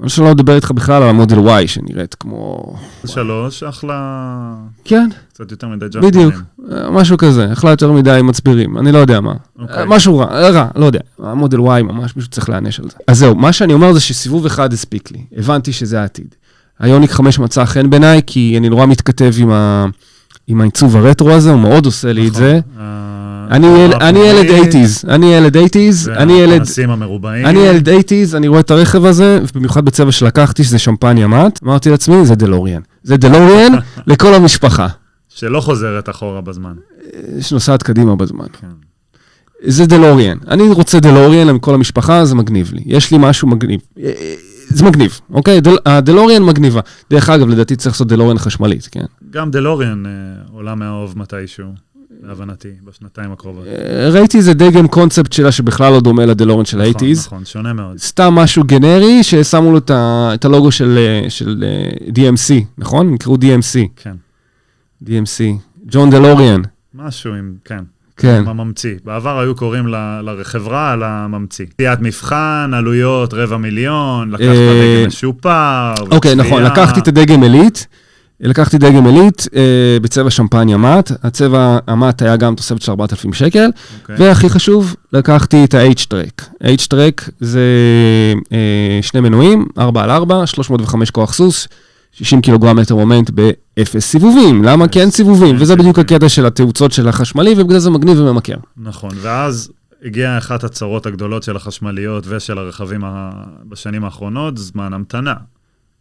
[SPEAKER 2] אני שלא מדבר איתך בכלל על המודל Y, שנראית כמו...
[SPEAKER 1] שלוש, אחלה,
[SPEAKER 2] כן,
[SPEAKER 1] קצת יותר מדי ג'אנק.
[SPEAKER 2] בדיוק. אה, משהו כזה, אכלה יותר מדי מצבירים, אני לא יודע מה.
[SPEAKER 1] אוקיי.
[SPEAKER 2] אה, משהו רע, אה, רע, לא יודע. המודל Y ממש, מישהו צריך להיענש על זה. אז זהו, מה שאני אומר זה שסיבוב אחד הספיק לי, הבנתי שזה העתיד. היוניק 5 מצא חן בעיניי, כי אני נורא מתכתב עם ה- עם העיצוב הרטרו הזה, הוא מאוד עושה
[SPEAKER 1] נכון.
[SPEAKER 2] לי את זה.
[SPEAKER 1] אה,
[SPEAKER 2] אני יל- אני ילד 80's, אני ילד 80's, אני ילד...
[SPEAKER 1] והפנסים המרובעים.
[SPEAKER 2] אני ילד 80's, אני רואה את הרכב הזה, ובמיוחד בצבע שלקחתי, שזה שמפניה מאט, אמרתי לעצמי, זה דלוריאן. זה דלוריאן לכל המשפחה,
[SPEAKER 1] שלא חוזרת אחורה בזמן.
[SPEAKER 2] אה, שנוסעת קדימה בזמן.
[SPEAKER 1] כן.
[SPEAKER 2] זה דלוריאן. אני רוצה דלוריאן עם כל המשפחה, זה מגניב לי. יש לי משהו מגניב. אה, אה, זה מגניב, אוקיי? דל- הדלוריאן מגניבה. דרך אגב, לדעתי צריך לעשות דלוריאן חשמלית, כן?
[SPEAKER 1] גם דלוריאן אה, עולה מהאוב מתישהו, להבנתי, בשנתיים הקרובות.
[SPEAKER 2] אה, ראיתי איזה דגם קונספט שלה שבכלל לא דומה לדלוריאן של
[SPEAKER 1] נכון,
[SPEAKER 2] ה-80's.
[SPEAKER 1] נכון, שונה מאוד.
[SPEAKER 2] סתם משהו גנרי ששמו לו את ה- את הלוגו של, אה, של אה, DMC, נכון? הם נקראו DMC.
[SPEAKER 1] כן.
[SPEAKER 2] DMC. ג'ון דלוריאן.
[SPEAKER 1] משהו עם, כן,
[SPEAKER 2] כן.
[SPEAKER 1] עם הממציא. בעבר היו קוראים ל- לחברה על הממציא. פציעת מבחן, עלויות רבע מיליון, לקחת
[SPEAKER 2] אה,
[SPEAKER 1] דגל משופר.
[SPEAKER 2] אוקיי, נכון,
[SPEAKER 1] וצפייה.
[SPEAKER 2] לקחתי את הדגם עילית, לקחתי דגם עילית אה, בצבע שמפניה מאט, הצבע המאט היה גם תוספת של 4,000 שקל,
[SPEAKER 1] אוקיי.
[SPEAKER 2] והכי חשוב, לקחתי את ה-H-Track. H-Track זה אה, שני מנועים, 4 על 4, 305 כוח סוס, 60 קילוגרם מטר מומנט באפס סיבובים. למה? כי אין סיבובים,
[SPEAKER 1] אין
[SPEAKER 2] וזה בדיוק
[SPEAKER 1] סיבובים.
[SPEAKER 2] הקטע של התאוצות של החשמלי, ובגלל זה מגניב וממכר.
[SPEAKER 1] נכון, ואז הגיעה אחת הצרות הגדולות של החשמליות ושל הרכבים ה... בשנים האחרונות, זמן המתנה.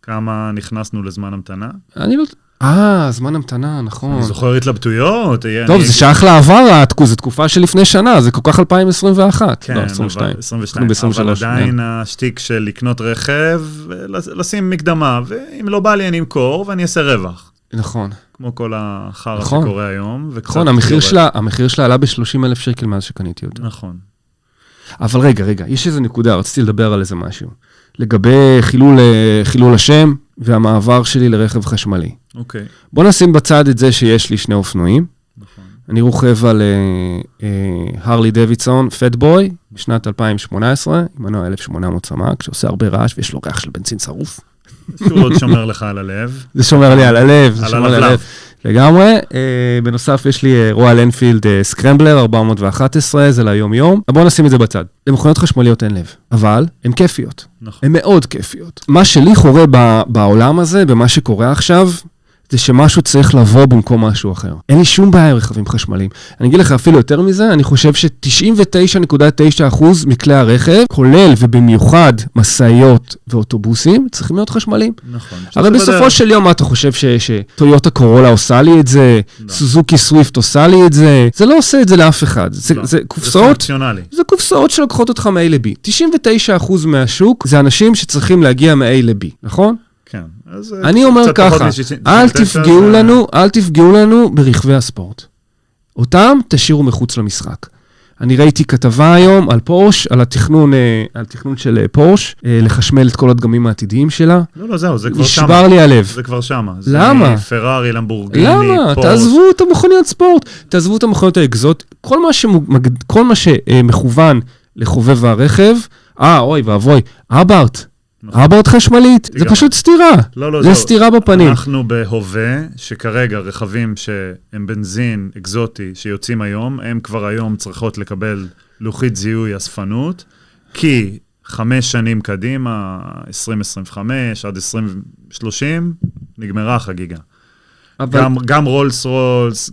[SPEAKER 1] כמה נכנסנו לזמן המתנה?
[SPEAKER 2] אני לא... אה, זמן המתנה, נכון.
[SPEAKER 1] אני זוכר התלבטויות. אה,
[SPEAKER 2] טוב,
[SPEAKER 1] אני-
[SPEAKER 2] זה שייך לעבר, התקו- זו תקופה של לפני שנה, זה כל כך 2021.
[SPEAKER 1] כן,
[SPEAKER 2] לא,
[SPEAKER 1] אבל-
[SPEAKER 2] 22.
[SPEAKER 1] 22.
[SPEAKER 2] אנחנו כן. ב-
[SPEAKER 1] אבל
[SPEAKER 2] 23,
[SPEAKER 1] עדיין השטיק של לקנות רכב, אה, לש- לשים מקדמה, ואם לא בא לי אני אמכור ואני אעשה רווח.
[SPEAKER 2] נכון.
[SPEAKER 1] כמו כל החרא
[SPEAKER 2] נכון.
[SPEAKER 1] שקורה היום. וקצת
[SPEAKER 2] נכון, המחיר
[SPEAKER 1] לא יורד.
[SPEAKER 2] שלה, המחיר שלה עלה ב-30 אלף שקל מאז שקניתי אותה.
[SPEAKER 1] נכון.
[SPEAKER 2] אבל רגע, רגע, יש איזו נקודה, רציתי לדבר על איזה משהו. לגבי חילול, אה, חילול השם והמעבר שלי לרכב חשמלי.
[SPEAKER 1] אוקיי,
[SPEAKER 2] בוא נשים בצד את זה שיש לי שני אופנועים.
[SPEAKER 1] נכון.
[SPEAKER 2] אני רוכב על אה, אה, הרלי דוידסון, פטבוי, משנת 2018, עם מנוע 1800 סמ"ק, שעושה הרבה רעש ויש לו ריח של בנזין שרוף.
[SPEAKER 1] שוב עוד שומר לך על הלב.
[SPEAKER 2] זה שומר לי על הלב, זה
[SPEAKER 1] על
[SPEAKER 2] שומר לי על
[SPEAKER 1] הלבלב.
[SPEAKER 2] הלב. לגמרי. אה, בנוסף, יש לי אה, רועל אנפילד אה, סקרמבלר 411, זה ליום-יום. אבל בואו נשים את זה בצד. למכוניות חשמליות אין לב, אבל הן כיפיות.
[SPEAKER 1] נכון.
[SPEAKER 2] הן מאוד כיפיות. מה שלי חורה ב- בעולם הזה, במה שקורה עכשיו, זה שמשהו צריך לבוא במקום משהו אחר. אין לי שום בעיה עם רכבים חשמליים. אני אגיד לך אפילו יותר מזה, אני חושב ש-99.9% מכלי הרכב, כולל ובמיוחד משאיות ואוטובוסים, צריכים להיות חשמליים.
[SPEAKER 1] נכון.
[SPEAKER 2] הרי
[SPEAKER 1] שזה
[SPEAKER 2] בסופו
[SPEAKER 1] בדרך.
[SPEAKER 2] של יום, מה אתה חושב ש- שטויוטה קורולה עושה לי את זה,
[SPEAKER 1] לא.
[SPEAKER 2] סוזוקי סוויפט עושה לי את זה? זה לא עושה את זה לאף אחד. זה-
[SPEAKER 1] לא.
[SPEAKER 2] זה
[SPEAKER 1] זה
[SPEAKER 2] קופסאות,
[SPEAKER 1] פונקציונלי.
[SPEAKER 2] זה קופסאות שלוקחות אותך מ-A ל-B. 99% מהשוק זה אנשים שצריכים להגיע מ-A ל-B, נכון?
[SPEAKER 1] כן. אז, אה,
[SPEAKER 2] אני אומר
[SPEAKER 1] קצת פחות
[SPEAKER 2] ככה,
[SPEAKER 1] מ-
[SPEAKER 2] אל
[SPEAKER 1] 99,
[SPEAKER 2] תפגעו
[SPEAKER 1] זה-
[SPEAKER 2] לנו, אל תפגעו לנו ברכבי הספורט. אותם תשאירו מחוץ למשחק. אני ראיתי כתבה היום על פורש, על התכנון, אה, על תכנון של אה, פורש, אה, לחשמל את כל הדגמים העתידים שלה.
[SPEAKER 1] לא, לא, זהו, זה כבר שמה.
[SPEAKER 2] נשבר לי הלב.
[SPEAKER 1] זה כבר שמה.
[SPEAKER 2] למה?
[SPEAKER 1] זה פרארי, למבורגיני,
[SPEAKER 2] למה?
[SPEAKER 1] פורש.
[SPEAKER 2] תעזבו את המכוניות ספורט, תעזבו את המכוניות האקזוט, כל מה, שמג... כל מה שמכוון לחובב הרכב, אה, אוי ואבוי, אברט,
[SPEAKER 1] נכון.
[SPEAKER 2] אברט חשמלית, זה
[SPEAKER 1] לגמרי.
[SPEAKER 2] פשוט סתירה,
[SPEAKER 1] לא, לא,
[SPEAKER 2] זה
[SPEAKER 1] זהו.
[SPEAKER 2] סתירה בפנים.
[SPEAKER 1] אנחנו בהווה, שכרגע רכבים שהם בנזין אקזוטי שיוצאים היום, הם כבר היום צריכות לקבל לוחית זיהוי אספנות, כי חמש שנים קדימה, 2025 עד 2030, נגמרה החגיגה.
[SPEAKER 2] אבל
[SPEAKER 1] גם, גם רולס רולס,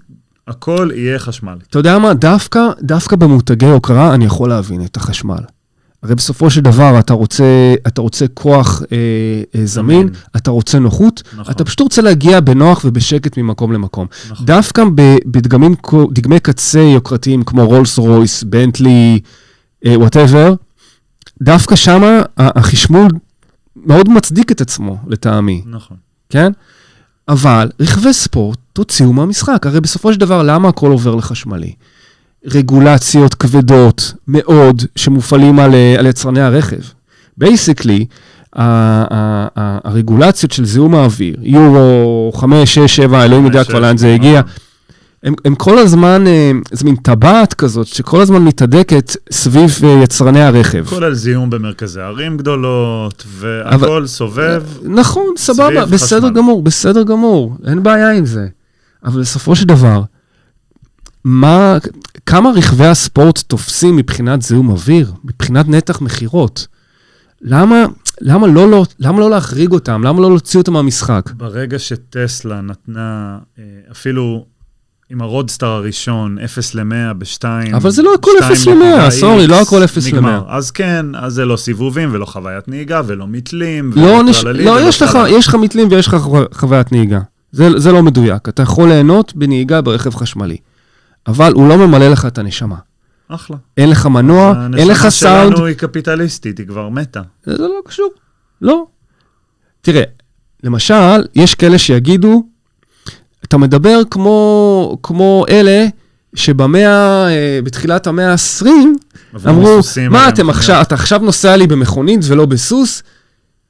[SPEAKER 1] הכל יהיה חשמל.
[SPEAKER 2] אתה יודע מה, דווקא, דווקא במותגי הוקרה אני יכול להבין את החשמל. הרי בסופו של דבר אתה רוצה, אתה רוצה כוח אה, אה, זמין,
[SPEAKER 1] זמין.
[SPEAKER 2] אתה רוצה נוחות,
[SPEAKER 1] נכון.
[SPEAKER 2] אתה פשוט רוצה להגיע בנוח ובשקט ממקום למקום.
[SPEAKER 1] נכון.
[SPEAKER 2] דווקא ב- בדגמים, כו- דגמי קצה יוקרתיים כמו רולס רויס, בנטלי, אה, וואטאבר, דווקא שמה ה- החשמול מאוד מצדיק את עצמו, לטעמי,
[SPEAKER 1] נכון.
[SPEAKER 2] כן? אבל רכבי ספורט, תוציאו מהמשחק. הרי בסופו של דבר, למה הכל עובר לחשמלי? רגולציות כבדות מאוד שמופעלים על, אה, על יצרני הרכב. בייסיקלי, הרגולציות של זיהום האוויר, יורו 5, 6, 7, אלוהים יודע
[SPEAKER 1] חמש,
[SPEAKER 2] כבר
[SPEAKER 1] שש,
[SPEAKER 2] לאן זה
[SPEAKER 1] נכון.
[SPEAKER 2] הגיע, הם, הם כל הזמן, אה, זה מין טבעת כזאת, שכל הזמן מתהדקת סביב אה, יצרני הרכב.
[SPEAKER 1] כולל זיהום במרכזי ערים גדולות, והכל סובב.
[SPEAKER 2] נכון, סבבה,
[SPEAKER 1] סביב
[SPEAKER 2] בסדר
[SPEAKER 1] חשמל.
[SPEAKER 2] גמור, בסדר גמור, אין בעיה עם זה. אבל בסופו של דבר, מה, כמה רכבי הספורט תופסים מבחינת זיהום אוויר, מבחינת נתח מכירות? למה, למה, לא, לא, למה לא להחריג אותם? למה לא להוציא אותם מהמשחק?
[SPEAKER 1] ברגע שטסלה נתנה, אה, אפילו עם הרודסטאר הראשון, 0 ל-100 ב-2...
[SPEAKER 2] אבל זה לא הכל 0 ל-100, סורי, לא הכל 0 ל-100.
[SPEAKER 1] אז כן, אז זה לא סיבובים ולא חוויית נהיגה ולא מתלים.
[SPEAKER 2] לא,
[SPEAKER 1] ולא
[SPEAKER 2] נש...
[SPEAKER 1] טרללי
[SPEAKER 2] לא
[SPEAKER 1] ולא
[SPEAKER 2] יש, לך,
[SPEAKER 1] טרללה.
[SPEAKER 2] יש לך מתלים ויש לך חו- חוויית נהיגה. זה, זה לא מדויק. אתה יכול ליהנות בנהיגה ברכב חשמלי, אבל הוא לא ממלא לך את הנשמה.
[SPEAKER 1] אחלה.
[SPEAKER 2] אין לך מנוע, אין לך סאונד,
[SPEAKER 1] הנשמה שלנו היא קפיטליסטית, היא כבר מתה.
[SPEAKER 2] זה לא קשור. לא. תראה, למשל, יש כאלה שיגידו, אתה מדבר כמו, כמו אלה שבמאה, אה, בתחילת המאה ה-20,
[SPEAKER 1] עברו
[SPEAKER 2] אמרו,
[SPEAKER 1] סוסים
[SPEAKER 2] מה
[SPEAKER 1] עליהם,
[SPEAKER 2] אתם עכשיו, אתה עכשיו נוסע לי במכונית ולא בסוס?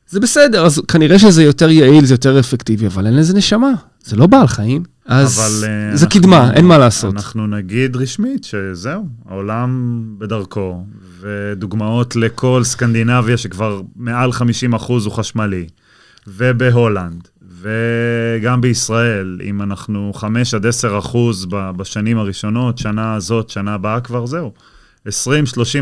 [SPEAKER 2] זה בסדר, אז כנראה שזה יותר יעיל, זה יותר אפקטיבי, אבל אין לזה נשמה, זה לא בעל חיים. אז
[SPEAKER 1] אבל, אה,
[SPEAKER 2] זה
[SPEAKER 1] אנחנו-
[SPEAKER 2] קדמה, אין מה לעשות.
[SPEAKER 1] אנחנו נגיד רשמית שזהו, העולם בדרכו, ודוגמאות לכל סקנדינביה שכבר מעל 50 אחוז הוא חשמלי, ובהולנד, וגם בישראל, אם אנחנו 5 עד 10 אחוז ב- בשנים הראשונות, שנה הזאת, שנה הבאה כבר, זהו. 20-30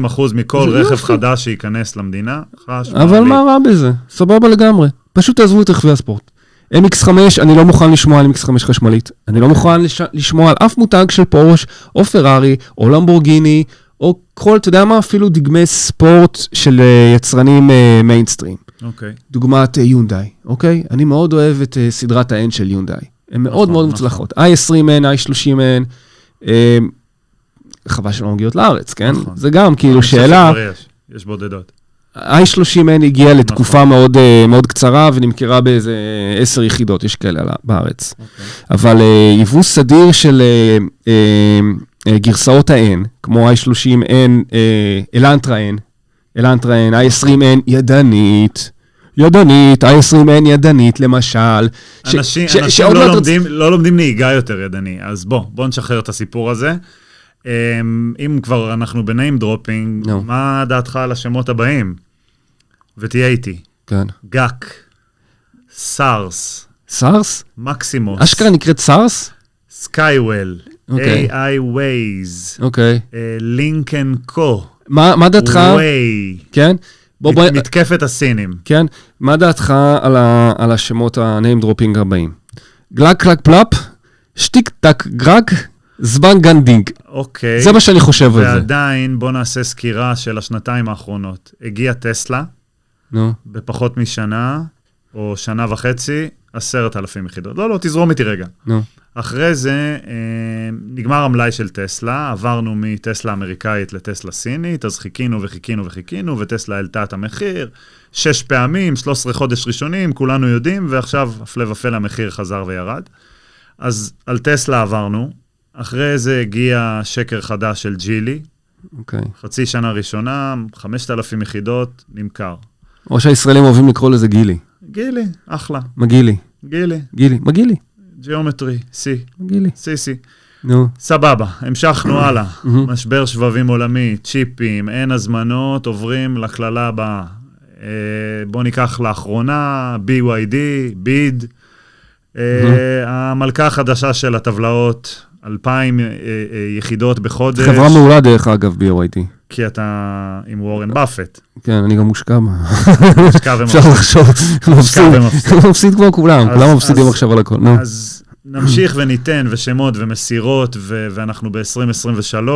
[SPEAKER 1] אחוז מכל
[SPEAKER 2] זה
[SPEAKER 1] רכב
[SPEAKER 2] יופי.
[SPEAKER 1] חדש שייכנס למדינה, חשמלי.
[SPEAKER 2] אבל מה רע בזה? סבבה לגמרי. פשוט תעזבו את רכבי הספורט. MX5, אני לא מוכן לשמוע על MX5 חשמלית. אני לא מוכן לש... לשמוע על אף מותג של פורש, או פרארי, או למבורגיני, או כל, אתה יודע מה, אפילו דגמי ספורט של אה, יצרנים אה, מיינסטרים.
[SPEAKER 1] אוקיי.
[SPEAKER 2] דוגמת אה, יונדאי, אוקיי? אני מאוד אוהב את אה, סדרת ה-N של יונדאי. הן מאוד
[SPEAKER 1] נכון,
[SPEAKER 2] מאוד
[SPEAKER 1] נכון.
[SPEAKER 2] מוצלחות. i20N, i30N, אה, חבל שלא מגיעות לארץ, כן?
[SPEAKER 1] נכון.
[SPEAKER 2] זה גם כאילו שאלה.
[SPEAKER 1] שכבר יש, יש בודדות.
[SPEAKER 2] ה-i30N
[SPEAKER 1] נכון.
[SPEAKER 2] הגיעה לתקופה מאוד, אה, מאוד קצרה ונמכרה באיזה עשר יחידות, יש כאלה על ה- בארץ.
[SPEAKER 1] אוקיי.
[SPEAKER 2] אבל אה, יבוא סדיר של אה, אה, אה, גרסאות ה-N, כמו i30N, אה, אלנטרה N, אלנטרה N, i20N ידנית. ידנית, i20N ידנית למשל. ש-
[SPEAKER 1] אנשים,
[SPEAKER 2] ש-
[SPEAKER 1] אנשים
[SPEAKER 2] שעוד
[SPEAKER 1] לא,
[SPEAKER 2] מעט-
[SPEAKER 1] לומדים, לא לומדים נהיגה יותר ידני, אז בוא, בוא נשחרר את הסיפור הזה. אמ, אם כבר אנחנו בניים דרופינג,
[SPEAKER 2] נו.
[SPEAKER 1] מה דעתך על השמות הבאים? ותהיה איתי.
[SPEAKER 2] כן.
[SPEAKER 1] גאק, סארס,
[SPEAKER 2] סארס?
[SPEAKER 1] מקסימוס,
[SPEAKER 2] אשכרה נקראת סארס?
[SPEAKER 1] סקייוול,
[SPEAKER 2] אוקיי.
[SPEAKER 1] AI Waze, אה,
[SPEAKER 2] אוקיי.
[SPEAKER 1] לינקן קו,
[SPEAKER 2] מה מה דעתך?
[SPEAKER 1] ווי,
[SPEAKER 2] כן? בוא, בוא,
[SPEAKER 1] מתקפת הסינים.
[SPEAKER 2] כן? מה דעתך על, ה, על השמות ה-name dropping הבאים? גלק קלק פלאפ, שטיק טק גרק, זבן גנדינג.
[SPEAKER 1] אוקיי.
[SPEAKER 2] זה מה שאני חושב על זה.
[SPEAKER 1] ועדיין, בוא נעשה סקירה של השנתיים האחרונות. הגיעה טסלה,
[SPEAKER 2] נו.
[SPEAKER 1] בפחות משנה, או שנה וחצי, עשרת אלפים יחידות. לא, לא, תזרום איתי רגע.
[SPEAKER 2] נו.
[SPEAKER 1] אחרי זה אה, נגמר המלאי של טסלה, עברנו מטסלה אמריקאית לטסלה סינית, אז חיכינו וחיכינו וחיכינו, וטסלה העלתה את המחיר, שש פעמים, 13 חודש ראשונים, כולנו יודעים, ועכשיו, הפלא ופלא, המחיר חזר וירד. אז על טסלה עברנו, אחרי זה הגיע שקר חדש של ג'ילי,
[SPEAKER 2] אוקיי.
[SPEAKER 1] חצי שנה ראשונה, 5,000 יחידות, נמכר.
[SPEAKER 2] או שהישראלים אוהבים לקרוא לזה גילי.
[SPEAKER 1] גילי, אחלה.
[SPEAKER 2] מגילי.
[SPEAKER 1] גילי,
[SPEAKER 2] גילי. מגילי.
[SPEAKER 1] ג'יאומטרי, C,
[SPEAKER 2] מגילי.
[SPEAKER 1] C, C.
[SPEAKER 2] נו.
[SPEAKER 1] סבבה, המשכנו הלאה. משבר שבבים עולמי, צ'יפים, אין הזמנות, עוברים לקללה הבאה. אה, בואו ניקח לאחרונה, BYD, ביד. אה, המלכה החדשה של הטבלאות, 2,000 אה, אה, יחידות בחודש,
[SPEAKER 2] חברה מעולה דרך אגב ב-OIT.
[SPEAKER 1] כי אתה עם וורן באפט.
[SPEAKER 2] כן, אני גם מושקע בה.
[SPEAKER 1] מושקע ומפסיד.
[SPEAKER 2] אפשר לחשוב. מפסיד.
[SPEAKER 1] ומפסיד.
[SPEAKER 2] הוא מפסיד כמו כולם,
[SPEAKER 1] אז-
[SPEAKER 2] כולם מפסידים
[SPEAKER 1] אז-
[SPEAKER 2] עכשיו על הכל. נו.
[SPEAKER 1] אז נמשיך וניתן, ושמות ומסירות, ו- ואנחנו ב-2023,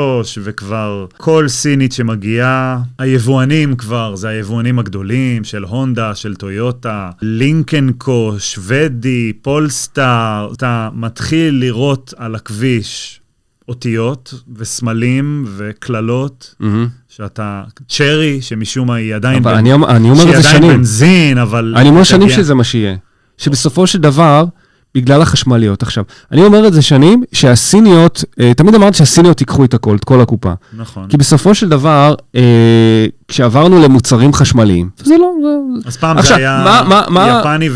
[SPEAKER 1] וכבר כל סינית שמגיעה, היבואנים כבר, זה היבואנים הגדולים של הונדה, של טויוטה, לינקנקו, שוודי, פולסטאר, אתה מתחיל לראות על הכביש אותיות וסמלים וקללות,
[SPEAKER 3] מהמם.
[SPEAKER 1] שאתה צ'רי, שמשום מה היא עדיין...
[SPEAKER 2] אבל
[SPEAKER 1] בנ-
[SPEAKER 2] אני אומר- אני אומר את
[SPEAKER 1] שהיא
[SPEAKER 2] זה
[SPEAKER 1] עדיין
[SPEAKER 2] שנים.
[SPEAKER 1] בנזין, אבל...
[SPEAKER 2] אני אומר שנים
[SPEAKER 1] לא תגיע.
[SPEAKER 2] שזה מה שיהיה. שבסופו של דבר, בגלל החשמליות. עכשיו, אני אומר את זה שנים, שהסיניות, אה, תמיד אמרתי שהסיניות ייקחו את הכל, את כל הקופה.
[SPEAKER 1] נכון.
[SPEAKER 2] כי בסופו של דבר, אה, כשעברנו למוצרים חשמליים, זה לא, זה-
[SPEAKER 1] אז פעם זה
[SPEAKER 2] עכשיו,
[SPEAKER 1] היה
[SPEAKER 2] מה- מה- מה-
[SPEAKER 1] יפני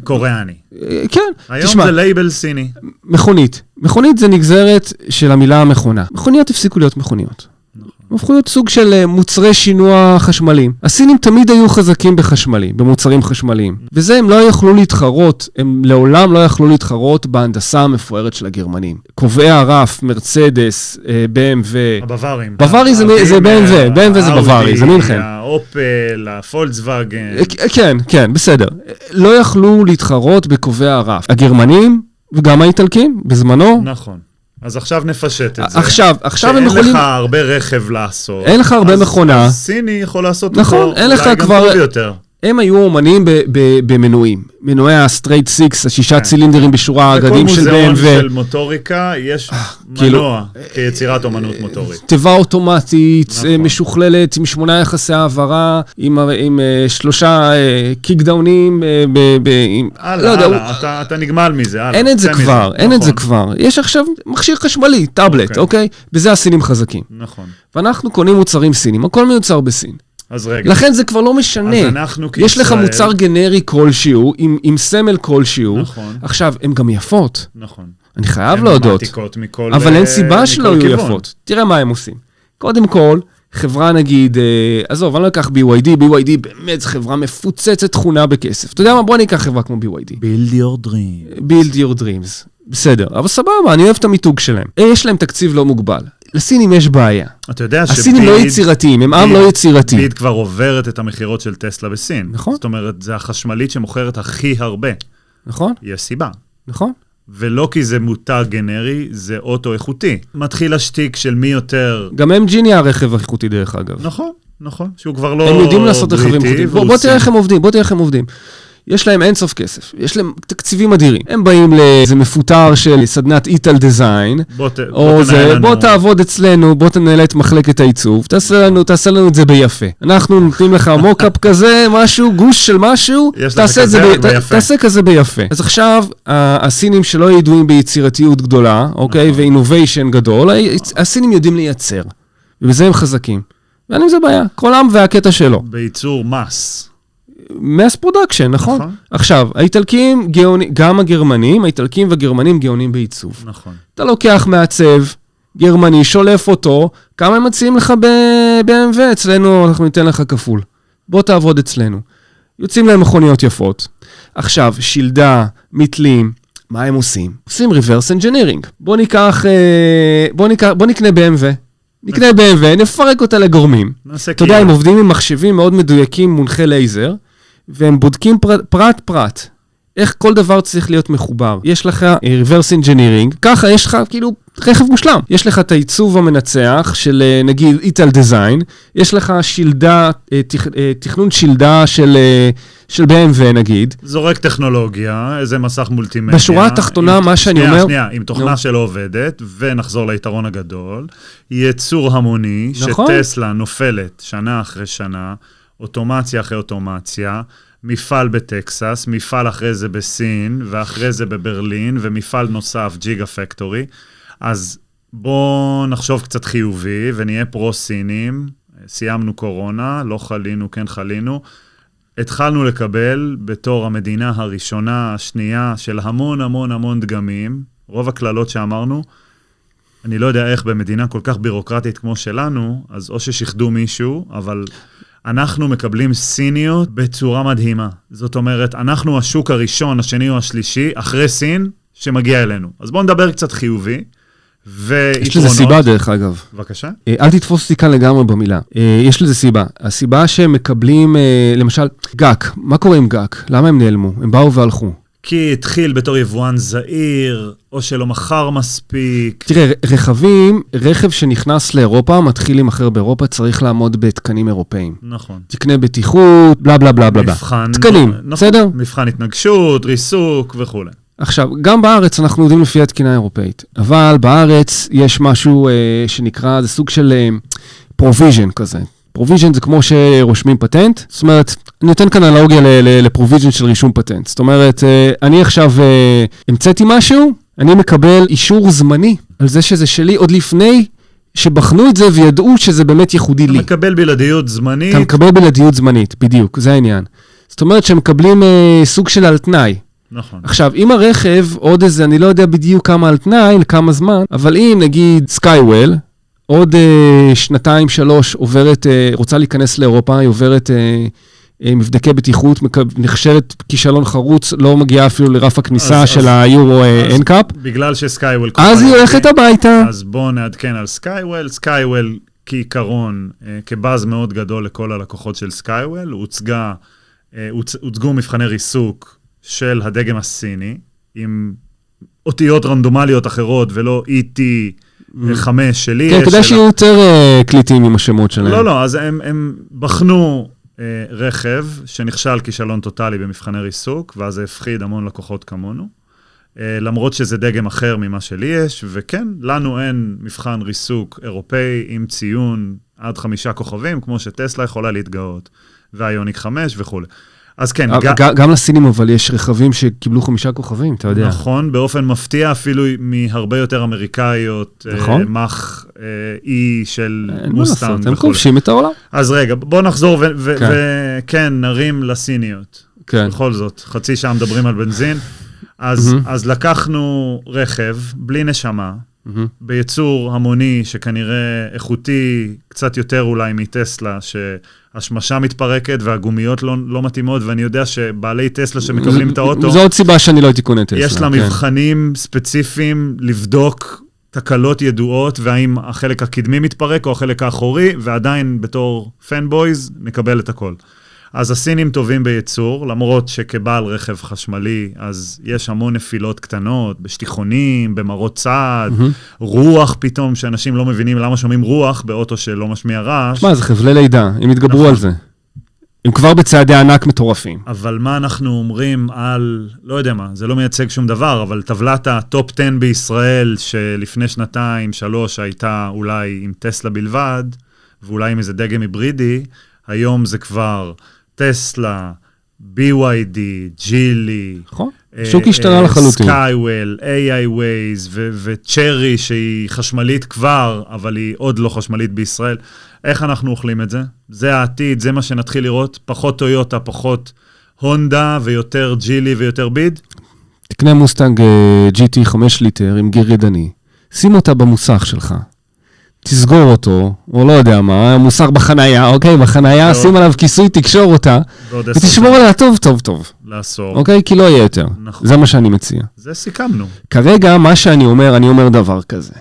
[SPEAKER 1] וקוריאני.
[SPEAKER 2] אה, כן,
[SPEAKER 1] היום
[SPEAKER 2] תשמע,
[SPEAKER 1] זה לייבל סיני.
[SPEAKER 2] מכונית. מכונית זה נגזרת של המילה מכונה. מכוניות הפסיקו להיות מכוניות.
[SPEAKER 1] נכון.
[SPEAKER 2] הם הפכו להיות סוג של אה, מוצרי שינוע חשמליים. הסינים תמיד היו חזקים בחשמלי, במוצרים חשמליים.
[SPEAKER 1] נכון.
[SPEAKER 2] וזה הם לא יכלו להתחרות, הם לעולם לא יכלו להתחרות בהנדסה המפוארת של הגרמנים. קובעי הרף, מרצדס, אה, BMW,
[SPEAKER 1] הבווארים.
[SPEAKER 2] בווארי זה מ-
[SPEAKER 1] האלפים,
[SPEAKER 2] זה BMW,
[SPEAKER 1] אה,
[SPEAKER 2] BMW זה
[SPEAKER 1] האאודי,
[SPEAKER 2] בווארי, זה מינכן.
[SPEAKER 1] האופל, הפולקסווגן.
[SPEAKER 2] אה, כן, כן, בסדר. אה, לא יכלו להתחרות בקובעי הרף. הגרמנים וגם האיטלקים, בזמנו.
[SPEAKER 1] נכון. אז עכשיו נפשט את זה.
[SPEAKER 2] עכשיו, עכשיו הם
[SPEAKER 1] שאין
[SPEAKER 2] יכולים...
[SPEAKER 1] לך הרבה רכב לעשות.
[SPEAKER 2] אין לך הרבה
[SPEAKER 1] אז-
[SPEAKER 2] מכונה.
[SPEAKER 1] אז סיני יכול לעשות
[SPEAKER 2] נכון,
[SPEAKER 1] אותו.
[SPEAKER 2] אין לך
[SPEAKER 1] אולי גם
[SPEAKER 2] כבר-
[SPEAKER 1] טוב יותר.
[SPEAKER 2] הם היו אומנים ב- ב- במנועים. מנועי הסטרייט סיקס, השישה
[SPEAKER 1] כן.
[SPEAKER 2] צילינדרים בשורה,
[SPEAKER 1] בכל
[SPEAKER 2] האגדים של
[SPEAKER 1] מוזיאון
[SPEAKER 2] בהם
[SPEAKER 1] של מוטוריקה יש
[SPEAKER 2] כאילו- אה,
[SPEAKER 1] מנוע כיצירת אומנות מוטורית.
[SPEAKER 2] תיבה אוטומטית,
[SPEAKER 1] נכון.
[SPEAKER 2] אה, משוכללת, עם שמונה יחסי העברה, עם, הר- עם אה, שלושה אה, קיקדאונים, אה, ב- ב- עם- לא
[SPEAKER 1] הלאה,
[SPEAKER 2] יודע, הוא-
[SPEAKER 1] הלאה, אתה- אתה נגמל מזה, הלאה.
[SPEAKER 2] אין את זה
[SPEAKER 1] צא מזה.
[SPEAKER 2] כבר, אין את זה
[SPEAKER 1] נכון,
[SPEAKER 2] כבר. יש עכשיו מכשיר חשמלי, טאבלט,
[SPEAKER 1] אוקיי.
[SPEAKER 2] אוקיי? בזה הסינים חזקים.
[SPEAKER 1] נכון.
[SPEAKER 2] ואנחנו קונים מוצרים סינים, הכל מיוצר בסין.
[SPEAKER 1] אז רגע.
[SPEAKER 2] לכן זה כבר לא משנה.
[SPEAKER 1] אז אנחנו כישראל...
[SPEAKER 2] יש לך מוצר גנרי כלשהו, עם, עם סמל כלשהו.
[SPEAKER 1] נכון.
[SPEAKER 2] עכשיו, הן גם יפות,
[SPEAKER 1] נכון.
[SPEAKER 2] אני חייב
[SPEAKER 1] הן
[SPEAKER 2] להודות.
[SPEAKER 1] מעתיקות מכל
[SPEAKER 2] אבל אין
[SPEAKER 1] אה,
[SPEAKER 2] סיבה שלא
[SPEAKER 1] מכל
[SPEAKER 2] יהיו
[SPEAKER 1] כיוון.
[SPEAKER 2] יפות. תראה מה הם עושים. קודם כל, חברה נגיד, אה, עזוב, אני לא אקח BYD, BYD באמת זו חברה מפוצצת תכונה בכסף. אתה יודע מה? בוא ניקח חברה כמו BYD.
[SPEAKER 1] build your dream.
[SPEAKER 2] build your dreams. בסדר, אבל סבבה, אני אוהב את המיתוג שלהם. אה, יש להם תקציב לא מוגבל. לסינים יש בעיה.
[SPEAKER 1] אתה יודע
[SPEAKER 2] הסינים לא יצירתיים, הם עם
[SPEAKER 1] ביד-
[SPEAKER 2] לא יצירתי.
[SPEAKER 1] ביט כבר עוברת את המכירות של טסלה בסין.
[SPEAKER 2] נכון.
[SPEAKER 1] זאת אומרת, זה החשמלית שמוכרת הכי הרבה.
[SPEAKER 2] נכון?
[SPEAKER 1] יש סיבה.
[SPEAKER 2] נכון?
[SPEAKER 1] ולא כי זה מותג גנרי, זה אוטו איכותי. מתחיל השטיק של מי יותר...
[SPEAKER 2] גם הם ג'יני הרכב האיכותי דרך אגב.
[SPEAKER 1] נכון, נכון. שהוא כבר לא
[SPEAKER 2] הם יודעים לעשות רכבים
[SPEAKER 1] בריטי,
[SPEAKER 2] איכותיים. בוא,
[SPEAKER 1] והוא
[SPEAKER 2] בוא תראה איך
[SPEAKER 1] סיני.
[SPEAKER 2] הם עובדים, בוא תראה איך הם עובדים. יש להם אינסוף כסף, יש להם תקציבים אדירים. הם באים לאיזה מפוטר של סדנת איטל דיזיין,
[SPEAKER 1] בוא ת-
[SPEAKER 2] או
[SPEAKER 1] בוא תנהל
[SPEAKER 2] זה,
[SPEAKER 1] לנו-
[SPEAKER 2] בוא תעבוד אצלנו, בוא תנהל את מחלקת העיצוב, תעשה לנו, תעשה לנו את זה ביפה. אנחנו נותנים לך מוקאפ כזה, משהו, גוש של משהו,
[SPEAKER 1] יש לך
[SPEAKER 2] תעשה את זה
[SPEAKER 1] כזה,
[SPEAKER 2] ב-
[SPEAKER 1] אבל
[SPEAKER 2] ת-
[SPEAKER 1] יפה.
[SPEAKER 2] תעשה כזה ביפה. אז עכשיו, ה- הסינים שלא ידועים ביצירתיות גדולה, אוקיי,
[SPEAKER 1] נכון.
[SPEAKER 2] ואינוביישן גדול, ה- הסינים יודעים לייצר, ובזה הם חזקים. ואין עם זה בעיה, כל עם והקטע שלו.
[SPEAKER 1] בייצור מס.
[SPEAKER 2] מס פרודקשן, נכון?
[SPEAKER 1] נכון.
[SPEAKER 2] עכשיו, האיטלקים, גאוני- גם הגרמנים, האיטלקים והגרמנים גאונים בעיצוב.
[SPEAKER 1] נכון.
[SPEAKER 2] אתה לוקח מעצב, גרמני, שולף אותו, כמה הם מציעים לך ב-BMW? אצלנו אנחנו ניתן לך כפול. בוא תעבוד אצלנו. יוצאים להם מכוניות יפות. עכשיו, שלדה, מתלים, מה הם עושים? עושים reverse engineering. בוא ניקח, אה, בוא, ניקח בוא נקנה BMW. נקנה BMW, נפרק אותה לגורמים.
[SPEAKER 1] נעשה כאילו
[SPEAKER 2] אתה יודע, הם עובדים עם מחשבים מאוד מדויקים, מונחי לייזר, והם בודקים פרט- פרט-פרט, איך כל דבר צריך להיות מחובר. יש לך אה, reverse engineering, ככה יש לך כאילו רכב מושלם. יש לך את העיצוב המנצח של אה, נגיד איטל דיזיין, יש לך שלדה, אה, תכ- אה, תכנון שלדה של... אה, של BMW נגיד,
[SPEAKER 1] זורק טכנולוגיה, איזה מסך מולטימדיה.
[SPEAKER 2] בשורה התחתונה,
[SPEAKER 1] עם-
[SPEAKER 2] מה שאני
[SPEAKER 1] שנייה,
[SPEAKER 2] אומר-
[SPEAKER 1] שנייה, עם תוכנה
[SPEAKER 2] נו.
[SPEAKER 1] שלא עובדת, ונחזור ליתרון הגדול, יצור המוני,
[SPEAKER 2] נכון.
[SPEAKER 1] שטסלה נופלת שנה אחרי שנה, אוטומציה אחרי אוטומציה, מפעל בטקסס, מפעל אחרי זה בסין, ואחרי זה בברלין, ומפעל נוסף, ג'יגה פקטורי. אז בואו נחשוב קצת חיובי ונהיה פרו-סינים. סיימנו קורונה, לא חלינו, כן חלינו. התחלנו לקבל בתור המדינה הראשונה, השנייה, של המון המון המון דגמים, רוב הקללות שאמרנו, אני לא יודע איך במדינה כל כך בירוקרטית כמו שלנו, אז או ששיחדו מישהו, אבל אנחנו מקבלים סיניות בצורה מדהימה. זאת אומרת, אנחנו השוק הראשון, השני או השלישי, אחרי סין, שמגיע אלינו. אז בואו נדבר קצת חיובי, ויתרונות.
[SPEAKER 2] יש לזה סיבה דרך אגב.
[SPEAKER 1] בבקשה.
[SPEAKER 2] אה, אל תתפוס אותי כאן לגמרי במילה. אה, יש לזה סיבה. הסיבה שהם מקבלים, אה, למשל, גאק, מה קורה עם גאק? למה הם נעלמו? הם באו והלכו.
[SPEAKER 1] כי התחיל בתור יבואן זעיר, או שלא מכר מספיק.
[SPEAKER 2] תראה, ר- רכבים, רכב שנכנס לאירופה, מתחיל להימכר באירופה, צריך לעמוד בתקנים אירופאיים.
[SPEAKER 1] נכון.
[SPEAKER 2] תקני בטיחות, בלה בלה בלה בלה בלה.
[SPEAKER 1] מבחן...
[SPEAKER 2] תקנים,
[SPEAKER 1] נכון,
[SPEAKER 2] בסדר?
[SPEAKER 1] מבחן התנגשות, ריסוק וכולי.
[SPEAKER 2] עכשיו, גם בארץ אנחנו עובדים לפי התקינה האירופאית, אבל בארץ יש משהו אה, שנקרא, זה סוג של אה, פרוביז'ן כזה. פרוביז'ן זה כמו שרושמים פטנט, זאת אומרת, אני נותן כאן אנלוגיה ל- ל- לפרוביז'ן של רישום פטנט. זאת אומרת, אה, אני עכשיו אה, המצאתי משהו, אני מקבל אישור זמני על זה שזה שלי עוד לפני שבחנו את זה וידעו שזה באמת ייחודי
[SPEAKER 1] אתה
[SPEAKER 2] לי.
[SPEAKER 1] מקבל בלעדיות זמנית.
[SPEAKER 2] אתה מקבל בלעדיות זמנית, בדיוק, זה העניין. זאת אומרת שהם מקבלים אה, סוג של על תנאי.
[SPEAKER 1] נכון.
[SPEAKER 2] עכשיו, אם הרכב, עוד איזה, אני לא יודע בדיוק כמה על תנאי, לכמה זמן, אבל אם נגיד סקייוול, עוד אה, שנתיים, שלוש, עוברת, אה, רוצה להיכנס לאירופה, היא עוברת אה, אה, מבדקי בטיחות, מקב- נכשלת כישלון חרוץ, לא מגיעה אפילו לרף הכניסה
[SPEAKER 1] אז-
[SPEAKER 2] של
[SPEAKER 1] אז-
[SPEAKER 2] היורו
[SPEAKER 1] אז-
[SPEAKER 2] NCAP,
[SPEAKER 1] בגלל שסקייוול...
[SPEAKER 2] אז היא הולכת הביתה.
[SPEAKER 1] אז בואו נעדכן על סקייוול. סקייוול כעיקרון, אה, כבאז מאוד גדול לכל הלקוחות של סקייוול, הוצגה, אה, הוצ- הוצגו מבחני ריסוק של הדגם הסיני, עם אותיות רנדומליות אחרות ולא ET5 שלי.
[SPEAKER 2] כן,
[SPEAKER 1] יש
[SPEAKER 2] כדאי
[SPEAKER 1] של-
[SPEAKER 2] שיהיו יותר אה, קליטים עם השמות שלהם.
[SPEAKER 1] לא, לא, אז הם, הם בחנו אה, רכב שנכשל כישלון טוטאלי במבחני ריסוק, ואז זה הפחיד המון לקוחות כמונו. אה, למרות שזה דגם אחר ממה שלי יש, וכן, לנו אין מבחן ריסוק אירופאי עם ציון עד חמישה כוכבים, כמו שטסלה יכולה להתגאות, והיוניק 5 וכולי. אז כן,
[SPEAKER 2] אבל
[SPEAKER 1] ג-
[SPEAKER 2] ג- אה, גם לסינים, אבל יש רכבים שקיבלו חמישה כוכבים, אתה יודע.
[SPEAKER 1] נכון, באופן מפתיע אפילו מהרבה יותר אמריקאיות, אה,
[SPEAKER 2] נכון. אה,
[SPEAKER 1] מח אה, אי של
[SPEAKER 2] אין מה
[SPEAKER 1] מוסטנג
[SPEAKER 2] לעשות, הם
[SPEAKER 1] וכולי.
[SPEAKER 2] כובשים את העולם.
[SPEAKER 1] אז רגע, בוא נחזור ו- ו-
[SPEAKER 2] כן.
[SPEAKER 1] וכן, נרים לסיניות.
[SPEAKER 2] כן.
[SPEAKER 1] בכל זאת, חצי שעה מדברים על בנזין. אז,
[SPEAKER 2] מהמם.
[SPEAKER 1] אז לקחנו רכב בלי נשמה,
[SPEAKER 2] מהמם.
[SPEAKER 1] בייצור המוני שכנראה איכותי קצת יותר אולי מטסלה, שהשמשה מתפרקת והגומיות לא, לא מתאימות, ואני יודע שבעלי טסלה שמקבלים את האוטו,
[SPEAKER 2] זו עוד סיבה שאני לא הייתי קונה טסלה.
[SPEAKER 1] יש לה
[SPEAKER 2] כן.
[SPEAKER 1] מבחנים ספציפיים לבדוק תקלות ידועות, והאם החלק הקדמי מתפרק או החלק האחורי, ועדיין בתור פנבויז נקבל את הכל. אז הסינים טובים בייצור, למרות שכבעל רכב חשמלי, אז יש המון נפילות קטנות, בשטיחונים, במראות צד,
[SPEAKER 2] מהמם.
[SPEAKER 1] רוח פתאום, שאנשים לא מבינים למה שומעים רוח באוטו שלא משמיע רעש.
[SPEAKER 2] שמע, זה חבלי לידה, הם יתגברו
[SPEAKER 1] נכון.
[SPEAKER 2] על זה. הם כבר בצעדי ענק מטורפים.
[SPEAKER 1] אבל מה אנחנו אומרים על, לא יודע מה, זה לא מייצג שום דבר, אבל טבלת הטופ 10 בישראל, שלפני שנתיים, שלוש, הייתה אולי עם טסלה בלבד, ואולי עם איזה דגם היברידי, היום זה כבר טסלה, BYD, ג'ילי.
[SPEAKER 2] נכון?
[SPEAKER 1] אה,
[SPEAKER 2] השוק השתנה לחלוטין.
[SPEAKER 1] סקייוול, AI Waze ו- וצ'רי שהיא חשמלית כבר, אבל היא עוד לא חשמלית בישראל. איך אנחנו אוכלים את זה? זה העתיד, זה מה שנתחיל לראות. פחות טויוטה, פחות הונדה ויותר ג'ילי ויותר ביד.
[SPEAKER 2] תקנה מוסטנג אה, GT 5 ליטר עם גיר ידני, שים אותה במוסך שלך, תסגור אותו, או לא יודע מה, מוסך בחנייה, אוקיי, בחנייה,
[SPEAKER 1] לא.
[SPEAKER 2] שים עליו כיסוי, תקשור אותה,
[SPEAKER 1] ועוד עשר
[SPEAKER 2] ותשמור
[SPEAKER 1] שנים.
[SPEAKER 2] עליה טוב טוב טוב,
[SPEAKER 1] לעשור.
[SPEAKER 2] אוקיי? כי לא יהיה יותר.
[SPEAKER 1] נכון.
[SPEAKER 2] זה מה שאני מציע.
[SPEAKER 1] זה סיכמנו.
[SPEAKER 2] כרגע, מה שאני אומר, אני אומר דבר כזה.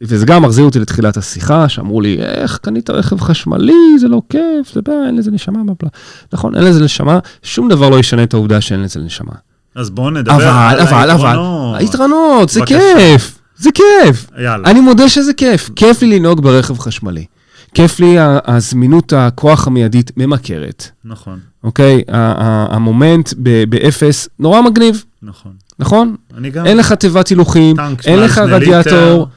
[SPEAKER 2] וזה גם מחזיר אותי לתחילת השיחה, שאמרו לי, איך קנית רכב חשמלי, זה לא כיף, זה בעיה, אין לזה נשמה, בלה בלה. נכון, אין לזה נשמה, שום דבר לא ישנה את העובדה שאין לזה נשמה.
[SPEAKER 1] אז בואו נדבר
[SPEAKER 2] אבל,
[SPEAKER 1] על
[SPEAKER 2] אבל, אבל,
[SPEAKER 1] היתרונות.
[SPEAKER 2] היתרונות, זה
[SPEAKER 1] בבקשה.
[SPEAKER 2] כיף, זה כיף.
[SPEAKER 1] יאללה.
[SPEAKER 2] אני מודה שזה כיף, כיף לי לנהוג ברכב חשמלי. כיף לי ה- הזמינות הכוח המיידית ממכרת,
[SPEAKER 1] נכון,
[SPEAKER 2] אוקיי? ה- ה- המומנט ב- באפס, נורא מגניב,
[SPEAKER 1] נכון.
[SPEAKER 2] נכון?
[SPEAKER 1] אני גם...
[SPEAKER 2] אין לך תיבת הילוכים,
[SPEAKER 1] טנק
[SPEAKER 2] אין לך
[SPEAKER 1] 17 ליטר,
[SPEAKER 2] רדיאטור,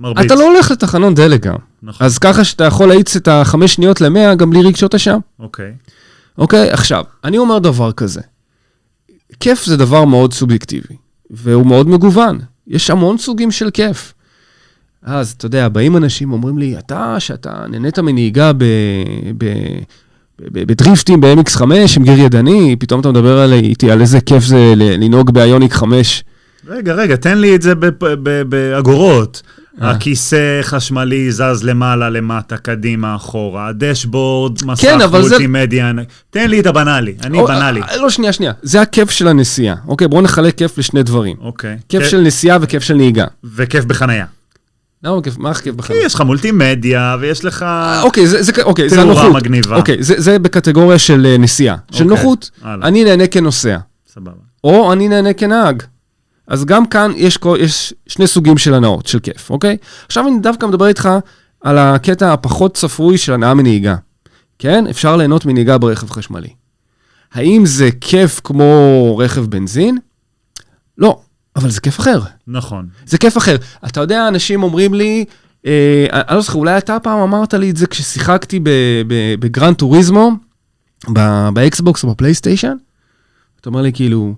[SPEAKER 1] מרביץ.
[SPEAKER 2] אתה לא הולך לתחנון דלק גם.
[SPEAKER 1] נכון,
[SPEAKER 2] אז ככה שאתה יכול להאיץ את החמש שניות למאה גם בלי רגשות אשם.
[SPEAKER 1] אוקיי.
[SPEAKER 2] אוקיי, עכשיו, אני אומר דבר כזה. כיף זה דבר מאוד סובייקטיבי, והוא מאוד מגוון. יש המון סוגים של כיף. אז אתה יודע, באים אנשים, אומרים לי, אתה, שאתה נהנית מנהיגה ב... ב... ב- בדריפטים ב-MX5 עם גיר ידני, פתאום אתה מדבר על- איתי על איזה כיף זה ל- לנהוג באיוניק 5
[SPEAKER 1] רגע, רגע, תן לי את זה בפ- ב- באגורות.
[SPEAKER 2] אה.
[SPEAKER 1] הכיסא חשמלי זז למעלה, למטה, קדימה, אחורה, הדשבורד, מסך
[SPEAKER 2] כן, אבל זה-
[SPEAKER 1] מולטימדיה, תן לי את הבנאלי, אני
[SPEAKER 2] או-
[SPEAKER 1] בנאלי.
[SPEAKER 2] אה, לא, שנייה, שנייה. זה הכיף של הנסיעה. אוקיי, בואו נחלק כיף לשני דברים.
[SPEAKER 1] אוקיי.
[SPEAKER 2] כיף
[SPEAKER 1] כיף-
[SPEAKER 2] של נסיעה וכיף של נהיגה.
[SPEAKER 1] וכיף בחנייה.
[SPEAKER 2] למה כיף? מה הכיף
[SPEAKER 1] כי
[SPEAKER 2] בכלל?
[SPEAKER 1] יש לך מולטימדיה, ויש לך...
[SPEAKER 2] אוקיי, זה- זה כ- אוקיי, זה
[SPEAKER 1] תאורה
[SPEAKER 2] הנוחות.
[SPEAKER 1] מגניבה.
[SPEAKER 2] אוקיי, זה זה בקטגוריה של אה, נסיעה. של
[SPEAKER 1] אוקיי,
[SPEAKER 2] נוחות.
[SPEAKER 1] הלאה.
[SPEAKER 2] אני נהנה כנוסע.
[SPEAKER 1] סבבה.
[SPEAKER 2] או אני נהנה כנהג. אז גם כאן יש, כל- יש שני סוגים של הנאות, של כיף, אוקיי? עכשיו אני דווקא מדבר איתך על הקטע הפחות צפוי של הנאה מנהיגה. כן? אפשר ליהנות מנהיגה ברכב חשמלי. האם זה כיף כמו רכב בנזין? לא, אבל זה כיף אחר.
[SPEAKER 1] נכון.
[SPEAKER 2] זה כיף אחר. אתה יודע, אנשים אומרים לי, אה, אני לא זוכר, אולי אתה פעם אמרת לי את זה כששיחקתי ב- ב- בגרן טוריזמו, ב- באקסבוקס או בפלייסטיישן? אתה אומר לי, כאילו,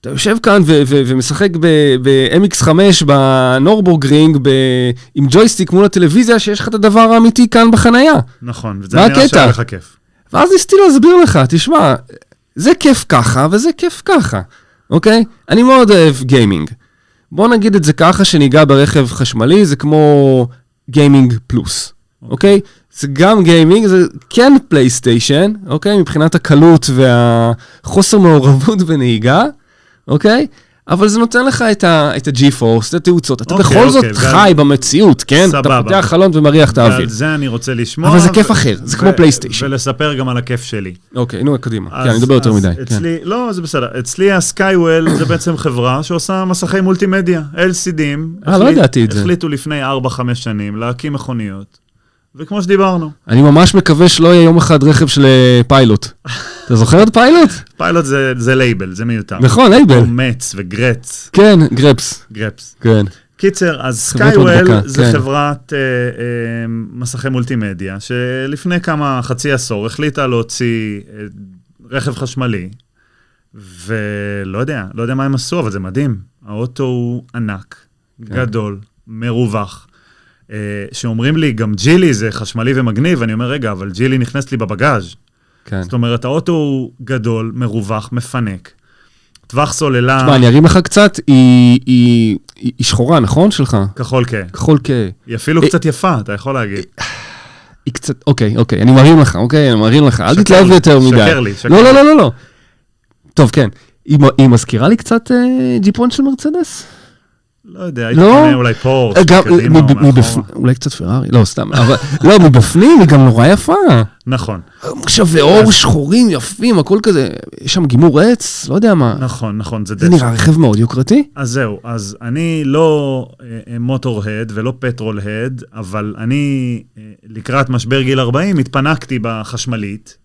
[SPEAKER 2] אתה יושב כאן ו- ו- ומשחק ב-MX5 בנורבורגרינג ב- עם ג'ויסטיק מול הטלוויזיה, שיש לך את הדבר האמיתי כאן בחנייה.
[SPEAKER 1] נכון, וזה
[SPEAKER 2] מה
[SPEAKER 1] נראה שהיה
[SPEAKER 2] הקטע?
[SPEAKER 1] לך כיף.
[SPEAKER 2] ואז ניסיתי להסביר לך, תשמע, זה כיף ככה וזה כיף ככה, אוקיי? אני מאוד אוהב גיימינג. בוא נגיד את זה ככה, שניגע ברכב חשמלי, זה כמו גיימינג פלוס, אוקיי? זה גם גיימינג, זה כן פלייסטיישן, אוקיי? מבחינת הקלות והחוסר מעורבות בנהיגה, אוקיי? אבל זה נותן לך את ה- את ה-G-Force, את התאוצות. אתה
[SPEAKER 1] אוקיי,
[SPEAKER 2] בכל זאת
[SPEAKER 1] אוקיי, זה-
[SPEAKER 2] חי במציאות, כן?
[SPEAKER 1] סבבה.
[SPEAKER 2] אתה פותח חלון ומריח את האוויר.
[SPEAKER 1] ועל זה אני רוצה לשמוע.
[SPEAKER 2] אבל זה כיף
[SPEAKER 1] ו-
[SPEAKER 2] אחר, זה
[SPEAKER 1] ו-
[SPEAKER 2] כמו פלייסטיישן.
[SPEAKER 1] ולספר גם על הכיף שלי.
[SPEAKER 2] אוקיי, נו, קדימה. כן,
[SPEAKER 1] אז-
[SPEAKER 2] אני מדבר יותר
[SPEAKER 1] אז
[SPEAKER 2] מדי. כן.
[SPEAKER 1] אצלי, לא, זה בסדר. אצלי הסקייוול זה בעצם חברה שעושה מסכי מולטימדיה, LCDים.
[SPEAKER 2] אה, לא
[SPEAKER 1] החליט-
[SPEAKER 2] ידעתי את זה.
[SPEAKER 1] החליטו לפני 4-5 שנים להקים מכוניות, וכמו שדיברנו,
[SPEAKER 2] אני ממש מקווה שלא יהיה יום אחד רכב של אה, פיילוט. אתה זוכר את פיילוט?
[SPEAKER 1] פיילוט זה- זה לייבל, זה מיותר.
[SPEAKER 2] נכון,
[SPEAKER 1] או
[SPEAKER 2] אייבל.
[SPEAKER 1] מצ וגרץ,
[SPEAKER 2] כן, גרפס.
[SPEAKER 1] גרפס.
[SPEAKER 2] כן.
[SPEAKER 1] קיצר, אז
[SPEAKER 2] חברת
[SPEAKER 1] סקייוול
[SPEAKER 2] מדבקה,
[SPEAKER 1] זה
[SPEAKER 2] כן.
[SPEAKER 1] חברת אה, אה, מסכי מולטימדיה, שלפני כמה, חצי עשור, החליטה להוציא אה, רכב חשמלי, ולא יודע, לא יודע מה הם עשו, אבל זה מדהים. האוטו הוא ענק,
[SPEAKER 2] כן.
[SPEAKER 1] גדול, מרווח. אה, שאומרים לי, גם ג'ילי זה חשמלי ומגניב, אני אומר, רגע, אבל ג'ילי נכנסת לי בבגאז'.
[SPEAKER 2] כן.
[SPEAKER 1] זאת אומרת, האוטו הוא גדול, מרווח, מפנק. טווח סוללה,
[SPEAKER 2] תשמע, אני ארים לך קצת, היא- היא היא- היא שחורה, נכון? שלך?
[SPEAKER 1] כחול כהה.
[SPEAKER 2] כחול כ...
[SPEAKER 1] היא אפילו
[SPEAKER 2] אה,
[SPEAKER 1] קצת יפה, אתה יכול להגיד.
[SPEAKER 2] היא קצת... אוקיי, אוקיי, אני מרים לך, אוקיי? אני מרים לך, אל
[SPEAKER 1] שקר
[SPEAKER 2] תתלהב
[SPEAKER 1] לי,
[SPEAKER 2] יותר מדי.
[SPEAKER 1] שקר לי, שקר
[SPEAKER 2] לא,
[SPEAKER 1] לי.
[SPEAKER 2] לא, לא, לא, לא. טוב, כן. היא מ- היא מזכירה לי קצת אה, ג'יפון של מרצדס?
[SPEAKER 1] לא יודע, הייתי
[SPEAKER 2] לא?
[SPEAKER 1] קונה אולי פורש,
[SPEAKER 2] גם,
[SPEAKER 1] אוקיי, קדימה או
[SPEAKER 2] מב-
[SPEAKER 1] מאחורה.
[SPEAKER 2] מבפ- אולי קצת פרארי, לא, סתם. אבל- לא, מבפנים היא גם נורא יפה.
[SPEAKER 1] נכון,
[SPEAKER 2] שווה אור שחורים יפים, הכל כזה, יש שם גימור עץ, לא יודע מה.
[SPEAKER 1] נכון, נכון, זה
[SPEAKER 2] זה
[SPEAKER 1] דשא.
[SPEAKER 2] נראה רכב מאוד יוקרתי.
[SPEAKER 1] אז זהו, אז אני לא מוטור-הד ולא פטרול-הד, אבל אני אה, לקראת משבר גיל 40 התפנקתי בחשמלית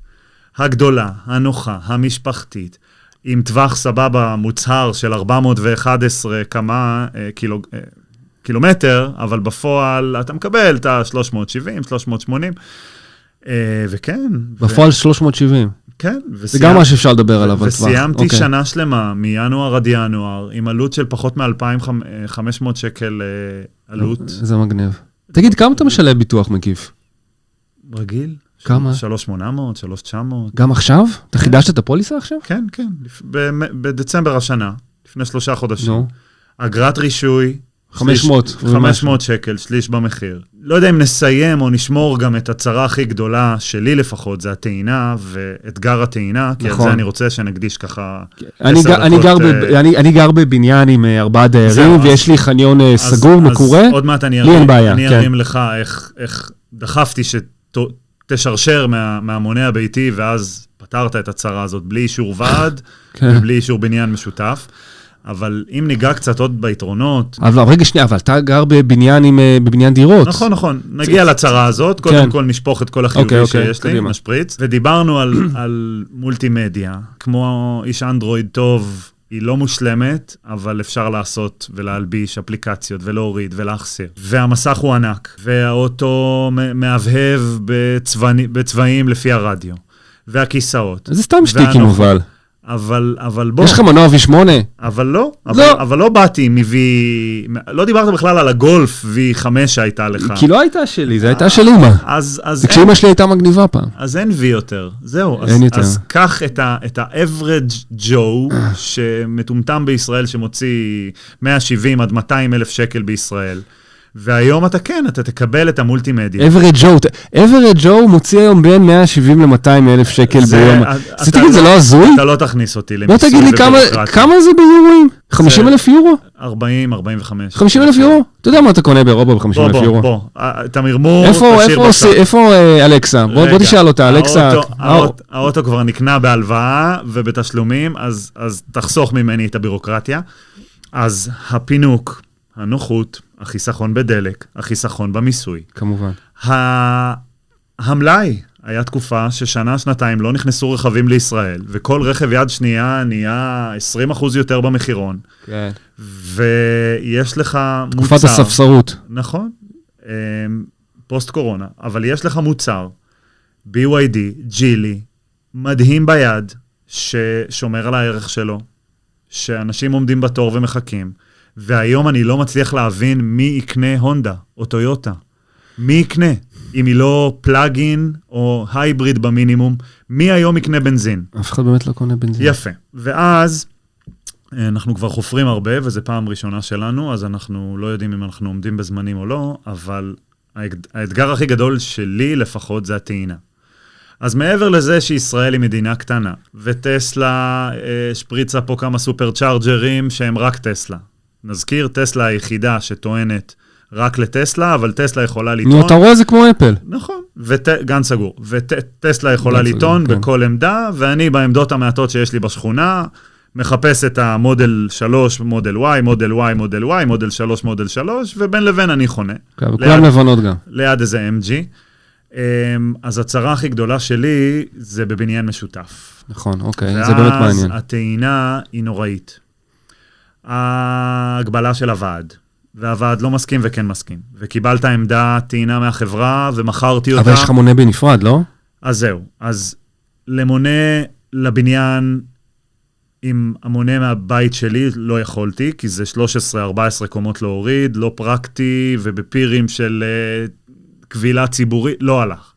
[SPEAKER 1] הגדולה, הנוחה, המשפחתית, עם טווח סבבה מוצהר של 411 כמה אה, קילו, אה, קילומטר, אבל בפועל אתה מקבל את ה-370, 380, אה, וכן. ו-
[SPEAKER 2] בפועל 370.
[SPEAKER 1] כן,
[SPEAKER 2] זה
[SPEAKER 1] וסיימתי-
[SPEAKER 2] גם מה שאפשר לדבר עליו על טווח.
[SPEAKER 1] וסיימתי
[SPEAKER 2] אוקיי.
[SPEAKER 1] שנה שלמה, מינואר עד ינואר, עם עלות של פחות מ-2,500 שקל אה, עלות.
[SPEAKER 2] זה מגניב. תגיד, כמה אתה משלם ביטוח מקיף?
[SPEAKER 1] רגיל?
[SPEAKER 2] כמה?
[SPEAKER 1] 3,800, 3,900.
[SPEAKER 2] גם עכשיו? אתה חידשת את הפוליסה עכשיו?
[SPEAKER 1] כן, כן, לפ- במ- בדצמבר השנה, לפני שלושה חודשים.
[SPEAKER 2] נו.
[SPEAKER 1] אגרת רישוי.
[SPEAKER 2] 500
[SPEAKER 1] שליש-
[SPEAKER 2] ומשהו.
[SPEAKER 1] 500 שקל, שליש במחיר. לא יודע אם נסיים או נשמור גם את הצרה הכי גדולה, שלי לפחות, זה הטעינה ואתגר הטעינה, כי על
[SPEAKER 2] נכון.
[SPEAKER 1] זה אני רוצה שנקדיש ככה
[SPEAKER 2] אני
[SPEAKER 1] עשר
[SPEAKER 2] גר- אני
[SPEAKER 1] דקות,
[SPEAKER 2] גר ב-
[SPEAKER 1] אה,
[SPEAKER 2] אני- אני גר בבניין עם אה, ארבעה דיירים,
[SPEAKER 1] אז-
[SPEAKER 2] ויש לי חניון אה,
[SPEAKER 1] אז-
[SPEAKER 2] סגור,
[SPEAKER 1] אז
[SPEAKER 2] מקורה.
[SPEAKER 1] עוד מעט אני
[SPEAKER 2] לי אין
[SPEAKER 1] ארים,
[SPEAKER 2] בעיה,
[SPEAKER 1] אני
[SPEAKER 2] כן.
[SPEAKER 1] ארים לך איך, איך דחפתי שתשרשר מה, מהמונה הביתי, ואז פתרת את הצרה הזאת בלי אישור ועד
[SPEAKER 2] כן.
[SPEAKER 1] ובלי אישור בניין משותף. אבל אם ניגע קצת עוד ביתרונות,
[SPEAKER 2] אבל לא, רגע, שנייה, אבל אתה גר בבניין עם, אה, בבניין דירות.
[SPEAKER 1] נכון, נכון, נגיע לצרה הזאת, קודם
[SPEAKER 2] כן.
[SPEAKER 1] כל נשפוך את כל
[SPEAKER 2] אוקיי,
[SPEAKER 1] החיובי
[SPEAKER 2] אוקיי,
[SPEAKER 1] שיש לי,
[SPEAKER 2] קדימה.
[SPEAKER 1] נשפריץ. ודיברנו על- על מולטימדיה, כמו איש אנדרואיד טוב, היא לא מושלמת, אבל אפשר לעשות ולהלביש אפליקציות ולהוריד ולהחסיר. והמסך הוא ענק, והאוטו מ- מהבהב בצבעני- בצבעים לפי הרדיו, והכיסאות.
[SPEAKER 2] זה סתם שטיקים
[SPEAKER 1] ואנוכי.
[SPEAKER 2] אבל.
[SPEAKER 1] אבל, אבל בוא,
[SPEAKER 2] יש לך מנוע V8?
[SPEAKER 1] אבל לא, אבל, אבל לא באתי מ-V, לא דיברת בכלל על הגולף V5 שהייתה לך.
[SPEAKER 2] כי לא הייתה שלי, זו הייתה של
[SPEAKER 1] אה.
[SPEAKER 2] אימא.
[SPEAKER 1] אז, אז
[SPEAKER 2] זה כשאימא שלי הייתה מגניבה פעם.
[SPEAKER 1] אז אין V יותר, זהו. אז,
[SPEAKER 2] אין יותר.
[SPEAKER 1] אז קח את, ה, את ה-Average Joe שמטומטם בישראל, שמוציא 170 עד 200 אלף שקל בישראל, והיום אתה כן, אתה תקבל את המולטימדיה.
[SPEAKER 4] אברד ג'ו, ת- אברד ג'ו מוציא היום בין 170 ל-200 אלף שקל
[SPEAKER 1] זה-
[SPEAKER 4] ביום.
[SPEAKER 1] אתה
[SPEAKER 4] אז תגיד, זה לא הזוי?
[SPEAKER 1] אתה לא תכניס אותי
[SPEAKER 4] בוא
[SPEAKER 1] למיסוי
[SPEAKER 4] תגיד לי כמה-
[SPEAKER 1] ובירוקרטיה.
[SPEAKER 4] כמה זה ביורואים? 50 אלף יורו?
[SPEAKER 1] 40, 45.
[SPEAKER 4] 50 אלף יורו? אתה יודע מה אתה קונה באירופה ב-50
[SPEAKER 1] בוא,
[SPEAKER 4] אלף
[SPEAKER 1] בוא,
[SPEAKER 4] יורו?
[SPEAKER 1] בוא. אה, את המרמור
[SPEAKER 4] איפה-
[SPEAKER 1] תשאיר
[SPEAKER 4] איפה
[SPEAKER 1] בצד.
[SPEAKER 4] עושה- איפה אה, אלכסה? בוא בוא
[SPEAKER 1] רגע,
[SPEAKER 4] תשאל אותה, אלכסה.
[SPEAKER 1] האוטו-
[SPEAKER 4] מה הוא-
[SPEAKER 1] האוט- האוטו כבר נקנה בהלוואה ובתשלומים, אז אז תחסוך ממני את הבירוקרטיה. אז הפינוק, הנוחות, החיסכון בדלק, החיסכון במיסוי,
[SPEAKER 4] כמובן.
[SPEAKER 1] ה- המלאי, היה תקופה ששנה, שנתיים לא נכנסו רכבים לישראל, וכל רכב יד שנייה נהיה 20% יותר במחירון,
[SPEAKER 4] כן.
[SPEAKER 1] ויש לך מוצר...
[SPEAKER 4] תקופת הספסרות.
[SPEAKER 1] נכון, אמ, פוסט-קורונה, אבל יש לך מוצר, BYD, ג'ילי, מדהים ביד, ששומר על הערך שלו, שאנשים עומדים בתור ומחכים, והיום אני לא מצליח להבין מי יקנה הונדה או טויוטה. מי יקנה? אם היא לא פלאגין או הייבריד במינימום, מי היום יקנה בנזין?
[SPEAKER 4] אף אחד באמת לא קונה בנזין.
[SPEAKER 1] יפה. ואז אה, אנחנו כבר חופרים הרבה, וזו פעם ראשונה שלנו, אז אנחנו לא יודעים אם אנחנו עומדים בזמנים או לא, אבל האג- האתגר הכי גדול שלי לפחות זה הטעינה. אז מעבר לזה שישראל היא מדינה קטנה, וטסלה אה, שפריצה פה כמה סופר-צ'ארג'רים שהם רק טסלה. נזכיר, טסלה היחידה שטוענת רק לטסלה, אבל טסלה יכולה לטעון...
[SPEAKER 4] נו, אתה רואה זה כמו אפל.
[SPEAKER 1] נכון, וגן סגור. וטסלה יכולה
[SPEAKER 4] גן סגור,
[SPEAKER 1] לטעון
[SPEAKER 4] כן.
[SPEAKER 1] בכל עמדה, ואני בעמדות המעטות שיש לי בשכונה, מחפש את המודל 3, מודל Y, מודל Y, מודל Y, מודל 3, מודל 3, ובין לבין אני חונה,
[SPEAKER 4] כן, וכולם לבנות גם.
[SPEAKER 1] ליד איזה MG. אמ, אז הצרה הכי גדולה שלי זה בבניין משותף.
[SPEAKER 4] נכון, אוקיי, זה באמת מעניין.
[SPEAKER 1] ואז הטעינה היא נוראית. ההגבלה של הוועד, והוועד לא מסכים וכן מסכים. וקיבלת עמדה טעינה מהחברה ומכרתי אותה,
[SPEAKER 4] אבל יש לך מונה בנפרד, לא?
[SPEAKER 1] אז זהו. אז למונה לבניין עם המונה מהבית שלי לא יכולתי, כי זה 13-14 קומות להוריד, לא פרקטי ובפירים של אה, כבילה ציבורית, לא הלך.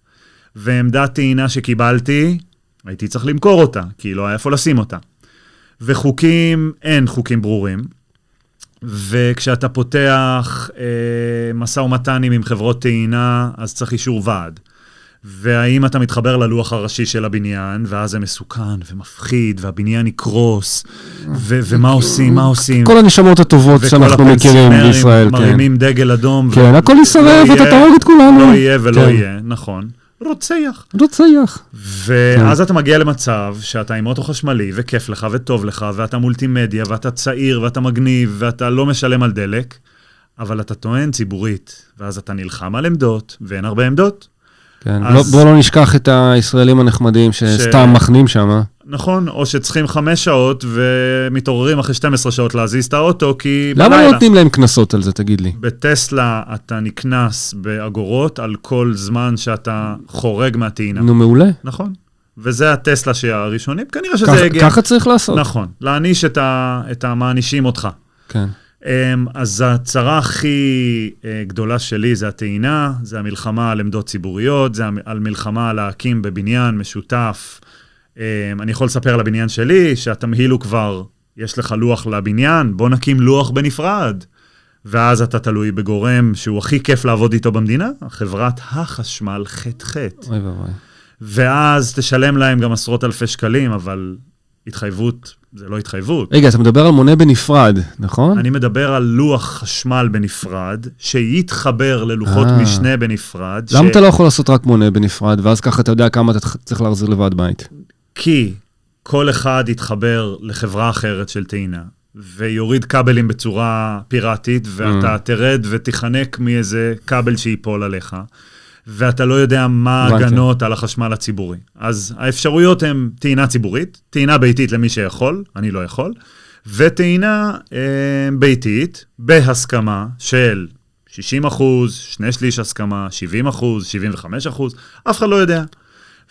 [SPEAKER 1] ועמדת טעינה שקיבלתי, הייתי צריך למכור אותה, כי לא היה איפה לשים אותה. וחוקים, אין חוקים ברורים. וכשאתה פותח אה, משא ומתנים עם חברות טעינה, אז צריך אישור ועד. והאם אתה מתחבר ללוח הראשי של הבניין, ואז זה מסוכן ומפחיד, והבניין יקרוס, ו- ומה עושים, מה עושים.
[SPEAKER 4] כל הנשמות הטובות
[SPEAKER 1] כן. וכל
[SPEAKER 4] שאנחנו מכירים
[SPEAKER 1] הפנסיונרים
[SPEAKER 4] בישראל, כן.
[SPEAKER 1] מרימים דגל אדום.
[SPEAKER 4] כן,
[SPEAKER 1] ו-
[SPEAKER 4] הכל
[SPEAKER 1] לא
[SPEAKER 4] יישרף, אתה
[SPEAKER 1] יהיה-
[SPEAKER 4] תהרוג את כולנו.
[SPEAKER 1] לא יהיה ולא
[SPEAKER 4] כן.
[SPEAKER 1] יהיה, נכון. רוצח.
[SPEAKER 4] לא צייח. כן.
[SPEAKER 1] ואז אתה מגיע למצב שאתה עם אוטו חשמלי, וכיף לך, וטוב לך, ואתה מולטימדיה, ואתה צעיר, ואתה מגניב, ואתה לא משלם על דלק, אבל אתה טוען ציבורית, ואז אתה נלחם על עמדות, ואין הרבה עמדות.
[SPEAKER 4] כן,
[SPEAKER 1] אז-
[SPEAKER 4] לא- בואו לא נשכח את הישראלים הנחמדים שסתם מחנים שם. אה?
[SPEAKER 1] נכון, או שצריכים חמש שעות ומתעוררים אחרי 12 שעות להזיז את האוטו, כי
[SPEAKER 4] למה לא
[SPEAKER 1] בלילה.
[SPEAKER 4] נותנים להם קנסות על זה, תגיד לי?
[SPEAKER 1] בטסלה אתה נקנס באגורות על כל זמן שאתה חורג מהטעינה.
[SPEAKER 4] נו, מעולה.
[SPEAKER 1] נכון. וזה הטסלה שהראשונים, כנראה שזה
[SPEAKER 4] ככה-
[SPEAKER 1] יגיע.
[SPEAKER 4] ככה צריך לעשות.
[SPEAKER 1] נכון, להעניש את, ה, את המענישים אותך.
[SPEAKER 4] כן.
[SPEAKER 1] אמ, אז הצרה הכי אה, גדולה שלי זה הטעינה, זה המלחמה על עמדות ציבוריות, זה המ- על מלחמה על להקים בבניין משותף. אמ, אני יכול לספר על הבניין שלי, שהתמהיל הוא כבר, יש לך לוח לבניין, בוא נקים לוח בנפרד. ואז אתה תלוי בגורם שהוא הכי כיף לעבוד איתו במדינה, חברת החשמל ח"ח.
[SPEAKER 4] אוי ואבוי.
[SPEAKER 1] ואז תשלם להם גם עשרות אלפי שקלים, אבל התחייבות זה לא התחייבות.
[SPEAKER 4] רגע, אתה מדבר על מונה בנפרד, נכון?
[SPEAKER 1] אני מדבר על לוח חשמל בנפרד, שיתחבר ללוחות
[SPEAKER 4] אה.
[SPEAKER 1] משנה בנפרד.
[SPEAKER 4] למה אתה לא יכול לעשות רק מונה בנפרד, ואז ככה אתה יודע כמה אתה צריך להחזיר לוועד בית?
[SPEAKER 1] כי כל אחד יתחבר לחברה אחרת של טעינה, ויוריד כבלים בצורה פיראטית, ואתה תרד ותיחנק מאיזה כבל שייפול עליך, ואתה לא יודע מה
[SPEAKER 4] הבנתי.
[SPEAKER 1] ההגנות על החשמל הציבורי. אז האפשרויות הן טעינה ציבורית, טעינה ביתית למי שיכול, אני לא יכול, וטעינה אה, ביתית בהסכמה של... 60 אחוז, שני שליש הסכמה, 70 אחוז, 75 אחוז, אף אחד לא יודע.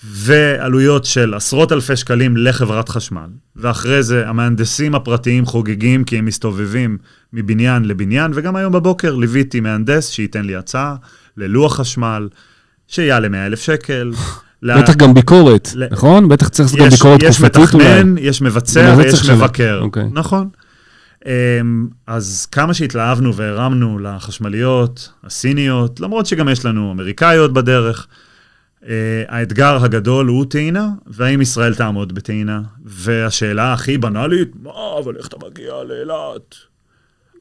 [SPEAKER 1] ועלויות של עשרות אלפי שקלים לחברת חשמל. ואחרי זה המהנדסים הפרטיים חוגגים כי הם מסתובבים מבניין לבניין, וגם היום בבוקר ליוויתי מהנדס שייתן לי הצעה ללוח חשמל, שיעלה 100 אלף שקל. ל-
[SPEAKER 4] בטח גם ביקורת,
[SPEAKER 1] אה. ל-
[SPEAKER 4] נכון? בטח צריך לעשות גם
[SPEAKER 1] יש-
[SPEAKER 4] ביקורת תקופתית אולי.
[SPEAKER 1] יש מתכנן, יש מבצע
[SPEAKER 4] בגלל זה צריך
[SPEAKER 1] ויש
[SPEAKER 4] לשלם.
[SPEAKER 1] מבקר.
[SPEAKER 4] אוקיי.
[SPEAKER 1] נכון. אמ, אז כמה שהתלהבנו והרמנו לחשמליות הסיניות, למרות שגם יש לנו אמריקאיות בדרך, אה, האתגר הגדול הוא טעינה, והאם ישראל תעמוד בטעינה? והשאלה הכי בנאלית, מה, אבל איך אתה מגיע לאילת?
[SPEAKER 4] לא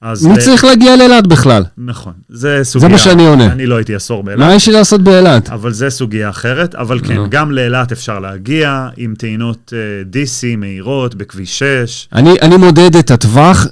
[SPEAKER 1] אז
[SPEAKER 2] מי
[SPEAKER 1] אה,
[SPEAKER 2] צריך להגיע לאילת בכלל?
[SPEAKER 1] נכון, זה סוגיה.
[SPEAKER 2] מה שאני עונה.
[SPEAKER 1] אני לא הייתי עשור באילת.
[SPEAKER 2] מה יש לי לעשות באילת?
[SPEAKER 1] אבל זה סוגיה אחרת. אבל כן,
[SPEAKER 2] נו.
[SPEAKER 1] גם לאילת אפשר להגיע עם טעינות אה, DC מהירות בכביש 6.
[SPEAKER 2] אני, אני מודד את הטווח,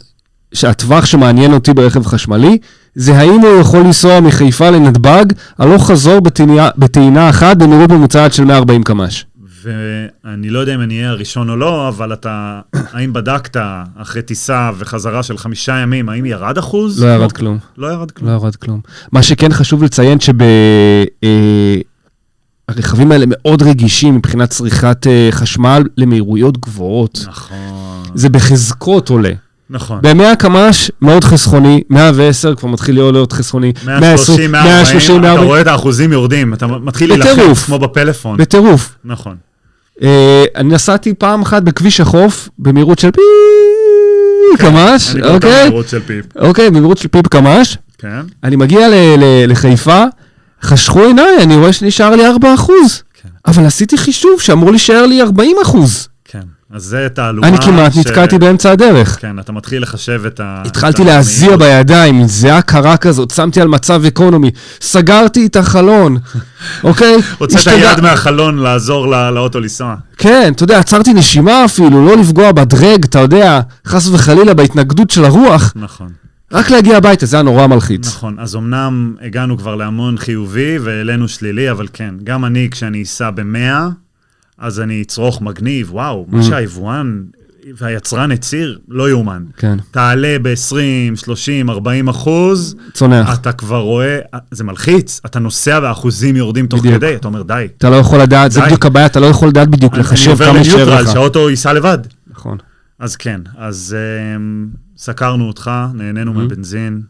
[SPEAKER 2] שהטווח שמעניין אותי ברכב חשמלי, זה האם הוא יכול לנסוע מחיפה לנתב"ג, הלוך חזור בטעינה, בטעינה אחת במהירות ממוצעת של 140 קמ"ש.
[SPEAKER 1] ואני לא יודע אם אני אהיה הראשון או לא, אבל אתה, האם בדקת אחרי טיסה וחזרה של חמישה ימים, האם ירד אחוז?
[SPEAKER 2] לא ירד כלום.
[SPEAKER 1] לא ירד
[SPEAKER 2] לא
[SPEAKER 1] כלום.
[SPEAKER 2] ירד כלום. מה שכן חשוב לציין שב... אה, הרכבים האלה מאוד רגישים מבחינת צריכת אה, חשמל למהירויות גבוהות.
[SPEAKER 1] נכון,
[SPEAKER 2] זה בחזקות עולה.
[SPEAKER 1] נכון.
[SPEAKER 2] ב-100 קמ"ש מאוד חסכוני, 110 כבר מתחיל להיות להיות חסכוני,
[SPEAKER 1] 130, 140, אתה
[SPEAKER 2] 140,
[SPEAKER 1] רואה את האחוזים יורדים, אתה מתחיל להילחם
[SPEAKER 2] בטירוף.
[SPEAKER 1] כמו בפלאפון.
[SPEAKER 2] בטירוף.
[SPEAKER 1] נכון.
[SPEAKER 2] אה, אני נסעתי פעם אחת בכביש החוף במהירות של פי... קמ"ש,
[SPEAKER 1] כן, אני באותה
[SPEAKER 2] אוקיי?
[SPEAKER 1] מהירות של פיפ.
[SPEAKER 2] אוקיי, במהירות של פיפ קמ"ש.
[SPEAKER 1] כן,
[SPEAKER 2] אני מגיע ל- ל- לחיפה, חשכו עיניי, אני רואה שנשאר לי 4 אחוז.
[SPEAKER 1] כן.
[SPEAKER 2] אבל עשיתי חישוב שאמור להישאר לי 40 אחוז.
[SPEAKER 1] כן. אז זה תעלומה
[SPEAKER 2] אני כמעט
[SPEAKER 1] ש-
[SPEAKER 2] נתקעתי באמצע הדרך.
[SPEAKER 1] כן, אתה מתחיל לחשב את ה...
[SPEAKER 2] התחלתי
[SPEAKER 1] את
[SPEAKER 2] להזיע
[SPEAKER 1] המהירות.
[SPEAKER 2] בידיים, זיעה קרה כזאת, שמתי על מצב אקונומי, סגרתי את החלון, אוקיי?
[SPEAKER 1] הוצאת
[SPEAKER 2] השתגע-
[SPEAKER 1] יד מהחלון לעזור לא- לאוטו לנסוע.
[SPEAKER 2] כן, אתה יודע, עצרתי נשימה אפילו, לא לפגוע בדרג, אתה יודע, חס וחלילה בהתנגדות של הרוח,
[SPEAKER 1] נכון,
[SPEAKER 2] רק להגיע הביתה, זה היה נורא מלחיץ.
[SPEAKER 1] נכון. אז אמנם הגענו כבר להמון חיובי והעלינו שלילי, אבל כן, גם אני, כשאני אסע ב-100, אז אני אצרוך מגניב, וואו,
[SPEAKER 2] Mm.
[SPEAKER 1] מה שהיבואן והיצרן הצהיר, לא יאומן.
[SPEAKER 2] כן,
[SPEAKER 1] תעלה ב-20, 30, 40 אחוז,
[SPEAKER 2] צונח.
[SPEAKER 1] אתה כבר רואה, זה מלחיץ, אתה נוסע והאחוזים יורדים תוך
[SPEAKER 2] בדיוק.
[SPEAKER 1] כדי, אתה אומר, די.
[SPEAKER 2] אתה לא יכול לדעת, זה
[SPEAKER 1] די.
[SPEAKER 2] בדיוק הבעיה, אתה לא יכול לדעת בדיוק
[SPEAKER 1] אני
[SPEAKER 2] לחשב
[SPEAKER 1] עובר
[SPEAKER 2] כמה שאיר
[SPEAKER 1] לניוטרל,
[SPEAKER 2] לך.
[SPEAKER 1] שהאוטו ייסע לבד.
[SPEAKER 2] נכון.
[SPEAKER 1] אז כן, אז אמ, סקרנו אותך,
[SPEAKER 2] Mm.
[SPEAKER 1] נהנינו מהבנזין.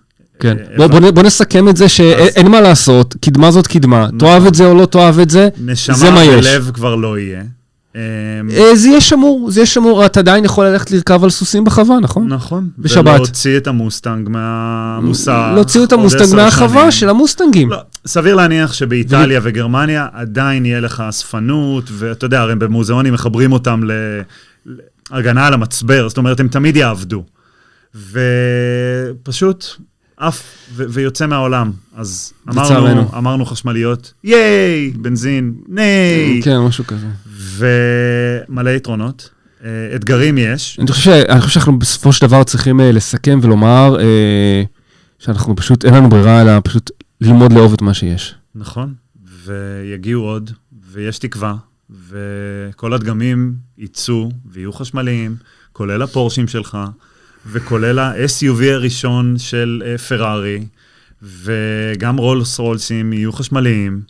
[SPEAKER 2] כן.
[SPEAKER 1] אה,
[SPEAKER 2] בוא- בוא נ- בוא נסכם את זה
[SPEAKER 1] אז- נכון.
[SPEAKER 2] שאין מה לעשות, קדמה זאת קדמה, תאהב את זה או לא תאהב את זה, זה
[SPEAKER 1] נשמה
[SPEAKER 2] מה יש.
[SPEAKER 1] ולב כבר לא יהיה. אמ,
[SPEAKER 2] אה, זה יהיה שמור, זה יהיה שמור, אתה עדיין יכול ללכת לרכב על סוסים בחווה, נכון?
[SPEAKER 1] נכון.
[SPEAKER 2] בשבת.
[SPEAKER 1] ולהוציא את המוסטנג מהמוסך.
[SPEAKER 2] להוציא את
[SPEAKER 1] לא, עוד
[SPEAKER 2] המוסטנג
[SPEAKER 1] עשר שנים.
[SPEAKER 2] מהחווה של המוסטנגים.
[SPEAKER 1] לא, סביר להניח שבאיטליה וגרמניה עדיין יהיה לך אספנות, ואתה יודע, הרי במוזיאונים מחברים אותם ל- להגנה על המצבר, זאת אומרת, הם תמיד יעבדו. ופשוט עף ו- ויוצא מהעולם. אז אמרנו,
[SPEAKER 2] לצערנו.
[SPEAKER 1] אמרנו חשמליות, ייי, בנזין, ניי,
[SPEAKER 2] כן, משהו כזה.
[SPEAKER 1] ומלא יתרונות. אה, אתגרים יש,
[SPEAKER 2] אני חושב, ש- אני חושב שאנחנו בסופו של דבר צריכים אה, לסכם ולומר אה, שאנחנו פשוט, אין לנו ברירה אלא פשוט ללמוד לאהוב את מה שיש.
[SPEAKER 1] נכון, ויגיעו עוד, ויש תקווה, וכל הדגמים יצאו ויהיו חשמליים, כולל הפורשים שלך, וכולל ה-SUV הראשון של אה, פרארי, וגם רולס רולסים יהיו חשמליים.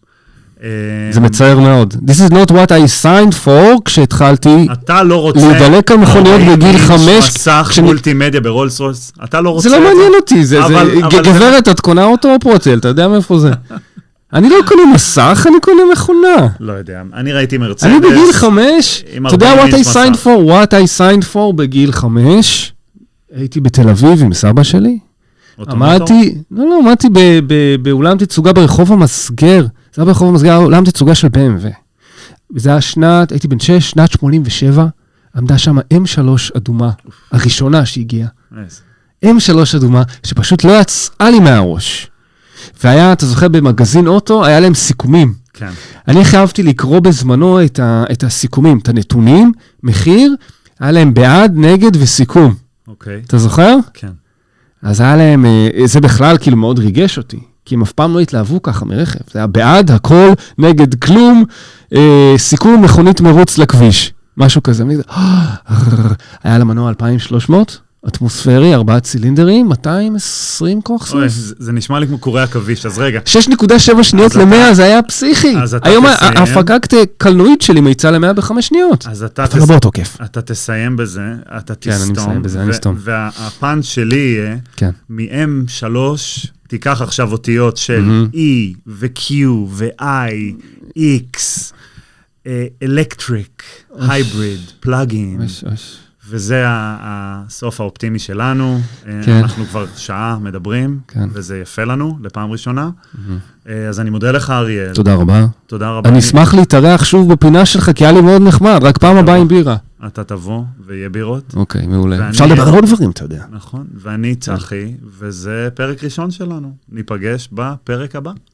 [SPEAKER 1] אה,
[SPEAKER 2] זה מצער מאוד. This is not what I signed for כשהתחלתי.
[SPEAKER 1] אתה לא רוצה...
[SPEAKER 2] להידלק על מכוניות בגיל חמש,
[SPEAKER 1] מסך
[SPEAKER 2] כשאני-
[SPEAKER 1] מולטימדיה ברולס רולס, אתה לא רוצה...
[SPEAKER 2] זה לא
[SPEAKER 1] את
[SPEAKER 2] מעניין אותי, זה,
[SPEAKER 1] אבל-
[SPEAKER 2] זה,
[SPEAKER 1] אבל-
[SPEAKER 2] גברת, את קונה אוטו או פרוצל, אתה יודע מאיפה זה. אני לא קונה מסך, אני קונה מכונה.
[SPEAKER 1] לא יודע, אני ראיתי מרצדס.
[SPEAKER 2] אני בגיל חמש,
[SPEAKER 1] עם
[SPEAKER 2] אתה יודע
[SPEAKER 1] ארבעים
[SPEAKER 2] what
[SPEAKER 1] אינץ'
[SPEAKER 2] I signed
[SPEAKER 1] מסך.
[SPEAKER 2] for, what I signed for בגיל חמש, הייתי בתל אביב עם סבא שלי,
[SPEAKER 1] אוטומטור.
[SPEAKER 2] עמדתי, לא, לא, עמדתי ב- ב- באולם תצוגה ברחוב המסגר. זה היה ברחוב המסגר, אולם תצוגה של BMW. וזה היה שנת, הייתי בן 6, שנת 87, עמדה שם M3 אדומה, הראשונה שהגיעה.
[SPEAKER 1] אז,
[SPEAKER 2] M3 אדומה, שפשוט לא יצאה לי מהראש. והיה, אתה זוכר, במגזין אוטו, היה להם סיכומים.
[SPEAKER 1] כן,
[SPEAKER 2] אני הכי אהבתי לקרוא בזמנו את, ה, את הסיכומים, את הנתונים, מחיר, היה להם בעד, נגד וסיכום.
[SPEAKER 1] אוקיי,
[SPEAKER 2] אתה זוכר?
[SPEAKER 1] כן.
[SPEAKER 2] אז היה להם, אה, זה בכלל כאילו מאוד ריגש אותי, כי הם אף פעם לא התלהבו ככה מרכב. זה היה בעד, הכל, נגד כלום, אה, סיכום מכונית מרוץ לכביש, משהו כזה. אני כזה, "אה, היה לה מנוע 2,300, אטמוספרי, ארבעה צילינדרים, 220 כוח
[SPEAKER 1] אוי,
[SPEAKER 2] סוס.
[SPEAKER 1] זה זה נשמע לי כמו קורי עכביש, אז רגע.
[SPEAKER 2] 6.7 שניות
[SPEAKER 1] אז אתה-
[SPEAKER 2] ל-100, זה היה פסיכי.
[SPEAKER 1] אז אתה
[SPEAKER 2] היום ה-
[SPEAKER 1] תסיים.
[SPEAKER 2] ההפקת קלנועית שלי מאיצה ל-100 בחמש שניות.
[SPEAKER 1] אז אתה,
[SPEAKER 2] אתה לא באותו כיף.
[SPEAKER 1] אתה תסיים בזה, אתה
[SPEAKER 2] כן, אני
[SPEAKER 1] תסתום.
[SPEAKER 2] מסיים בזה, אני אסתום.
[SPEAKER 1] והפאנץ' שלי יהיה,
[SPEAKER 2] כן.
[SPEAKER 1] מ-M3, תיקח עכשיו אותיות של
[SPEAKER 2] מהמם.
[SPEAKER 1] E ו-Q ו-I, אה, X, אלקטריק, הייבריד, פלאגין, וזה ה- הסוף האופטימי שלנו.
[SPEAKER 2] כן.
[SPEAKER 1] כן. אנחנו כבר שעה מדברים,
[SPEAKER 2] כן.
[SPEAKER 1] כן. וזה יפה לנו, לפעם ראשונה. אה, אז אני מודה לך, אריאל.
[SPEAKER 2] תודה רבה.
[SPEAKER 1] תודה רבה.
[SPEAKER 2] אני אשמח להתארח שוב בפינה שלך, כי היה לי מאוד נחמד, רק פעם הבאה עם בירה.
[SPEAKER 1] אתה תבוא, ויהיה בירות.
[SPEAKER 2] אוקיי, מעולה.
[SPEAKER 1] ואני-
[SPEAKER 2] אפשר לדבר על עוד דברים, אתה יודע.
[SPEAKER 1] נכון. ואני צחי, וזה פרק ראשון שלנו. ניפגש בפרק הבא.